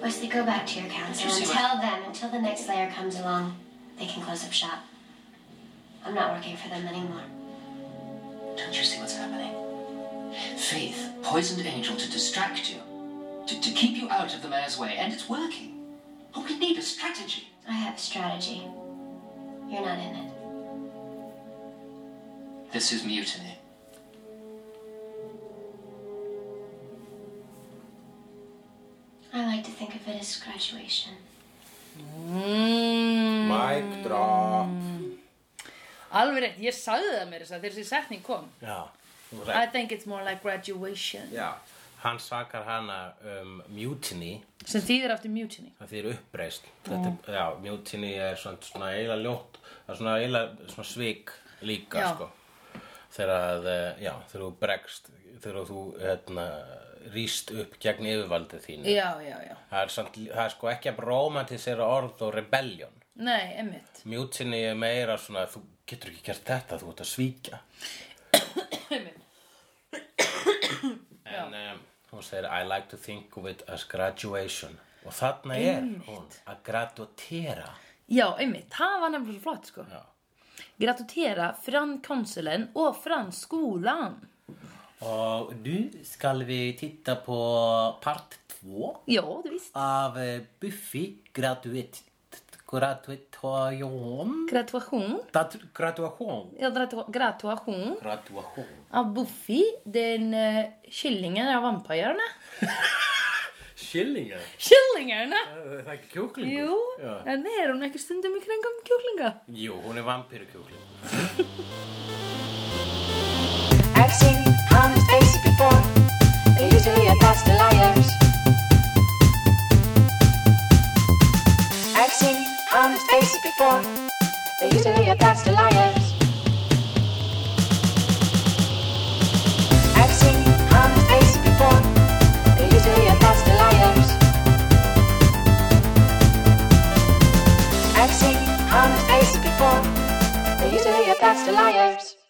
[SPEAKER 4] Wesley, go back to your council
[SPEAKER 5] Just
[SPEAKER 4] and
[SPEAKER 5] see what-
[SPEAKER 4] tell them until the next layer comes along, they can close up shop. I'm not working for them anymore.
[SPEAKER 5] Don't you see what's happening? Faith poisoned Angel to distract you, to, to keep you out of the mayor's way, and it's working. But we need a strategy.
[SPEAKER 4] I have a strategy. You're not in it.
[SPEAKER 5] This is mutiny.
[SPEAKER 4] I like to think of it as graduation.
[SPEAKER 3] mic drop
[SPEAKER 2] Alveg rétt, ég sagði það mér þess að þegar þessi setning kom
[SPEAKER 3] já, þú ert
[SPEAKER 2] I think it's more like graduation
[SPEAKER 3] Já, hann sakar hana um mutiny,
[SPEAKER 2] sem þýðir aftur mutiny
[SPEAKER 3] það þýr uppreist. Þetta, já, mutiny er svona, svona eiginlega ljótt, það er svona eiginlega svona svik líka,
[SPEAKER 2] Já.
[SPEAKER 3] sko. Þegar að, eh, já, þegar þú bregst, þegar þú, hérna, rýst upp gegn yfirvaldið þínu.
[SPEAKER 2] Já, já, já,
[SPEAKER 3] Það er, samt, það er sko ekki að romantisera orð og rebellion.
[SPEAKER 2] nei, emmitt
[SPEAKER 3] Mutiny er meira svona, þú getur ekki gert þetta, þú ert að svíkja. En um, hún segir I like to think of it as graduation Og þarna er hún að graduatera
[SPEAKER 2] Já, einmitt, það var nefnilega svo flott sko
[SPEAKER 3] Já.
[SPEAKER 2] Gratutera fran konsulen og fran skólan
[SPEAKER 3] Og nú skal við titta på part 2
[SPEAKER 2] Já, þú víst
[SPEAKER 3] af eh, Buffy graduate graduation
[SPEAKER 2] Gratuation
[SPEAKER 3] Dat- graduation
[SPEAKER 2] ja, gratu- Gratuation
[SPEAKER 3] graduation
[SPEAKER 2] av Buffy, den uh, kyllingen av vampyrene
[SPEAKER 3] Skillingar,
[SPEAKER 2] Kyllingerne?
[SPEAKER 3] það er ekki kjúklingur
[SPEAKER 2] Jú, en er hún ekki stundum í kringum kjúklinga?
[SPEAKER 3] Jú, hún er vampirukjúklingur
[SPEAKER 7] I've seen honest faces before. They're usually a past liars. I've seen honest faces before. They're usually a past liars. I've seen honest faces before. They're usually a past liars. I've seen honest faces before. They're usually a past liars.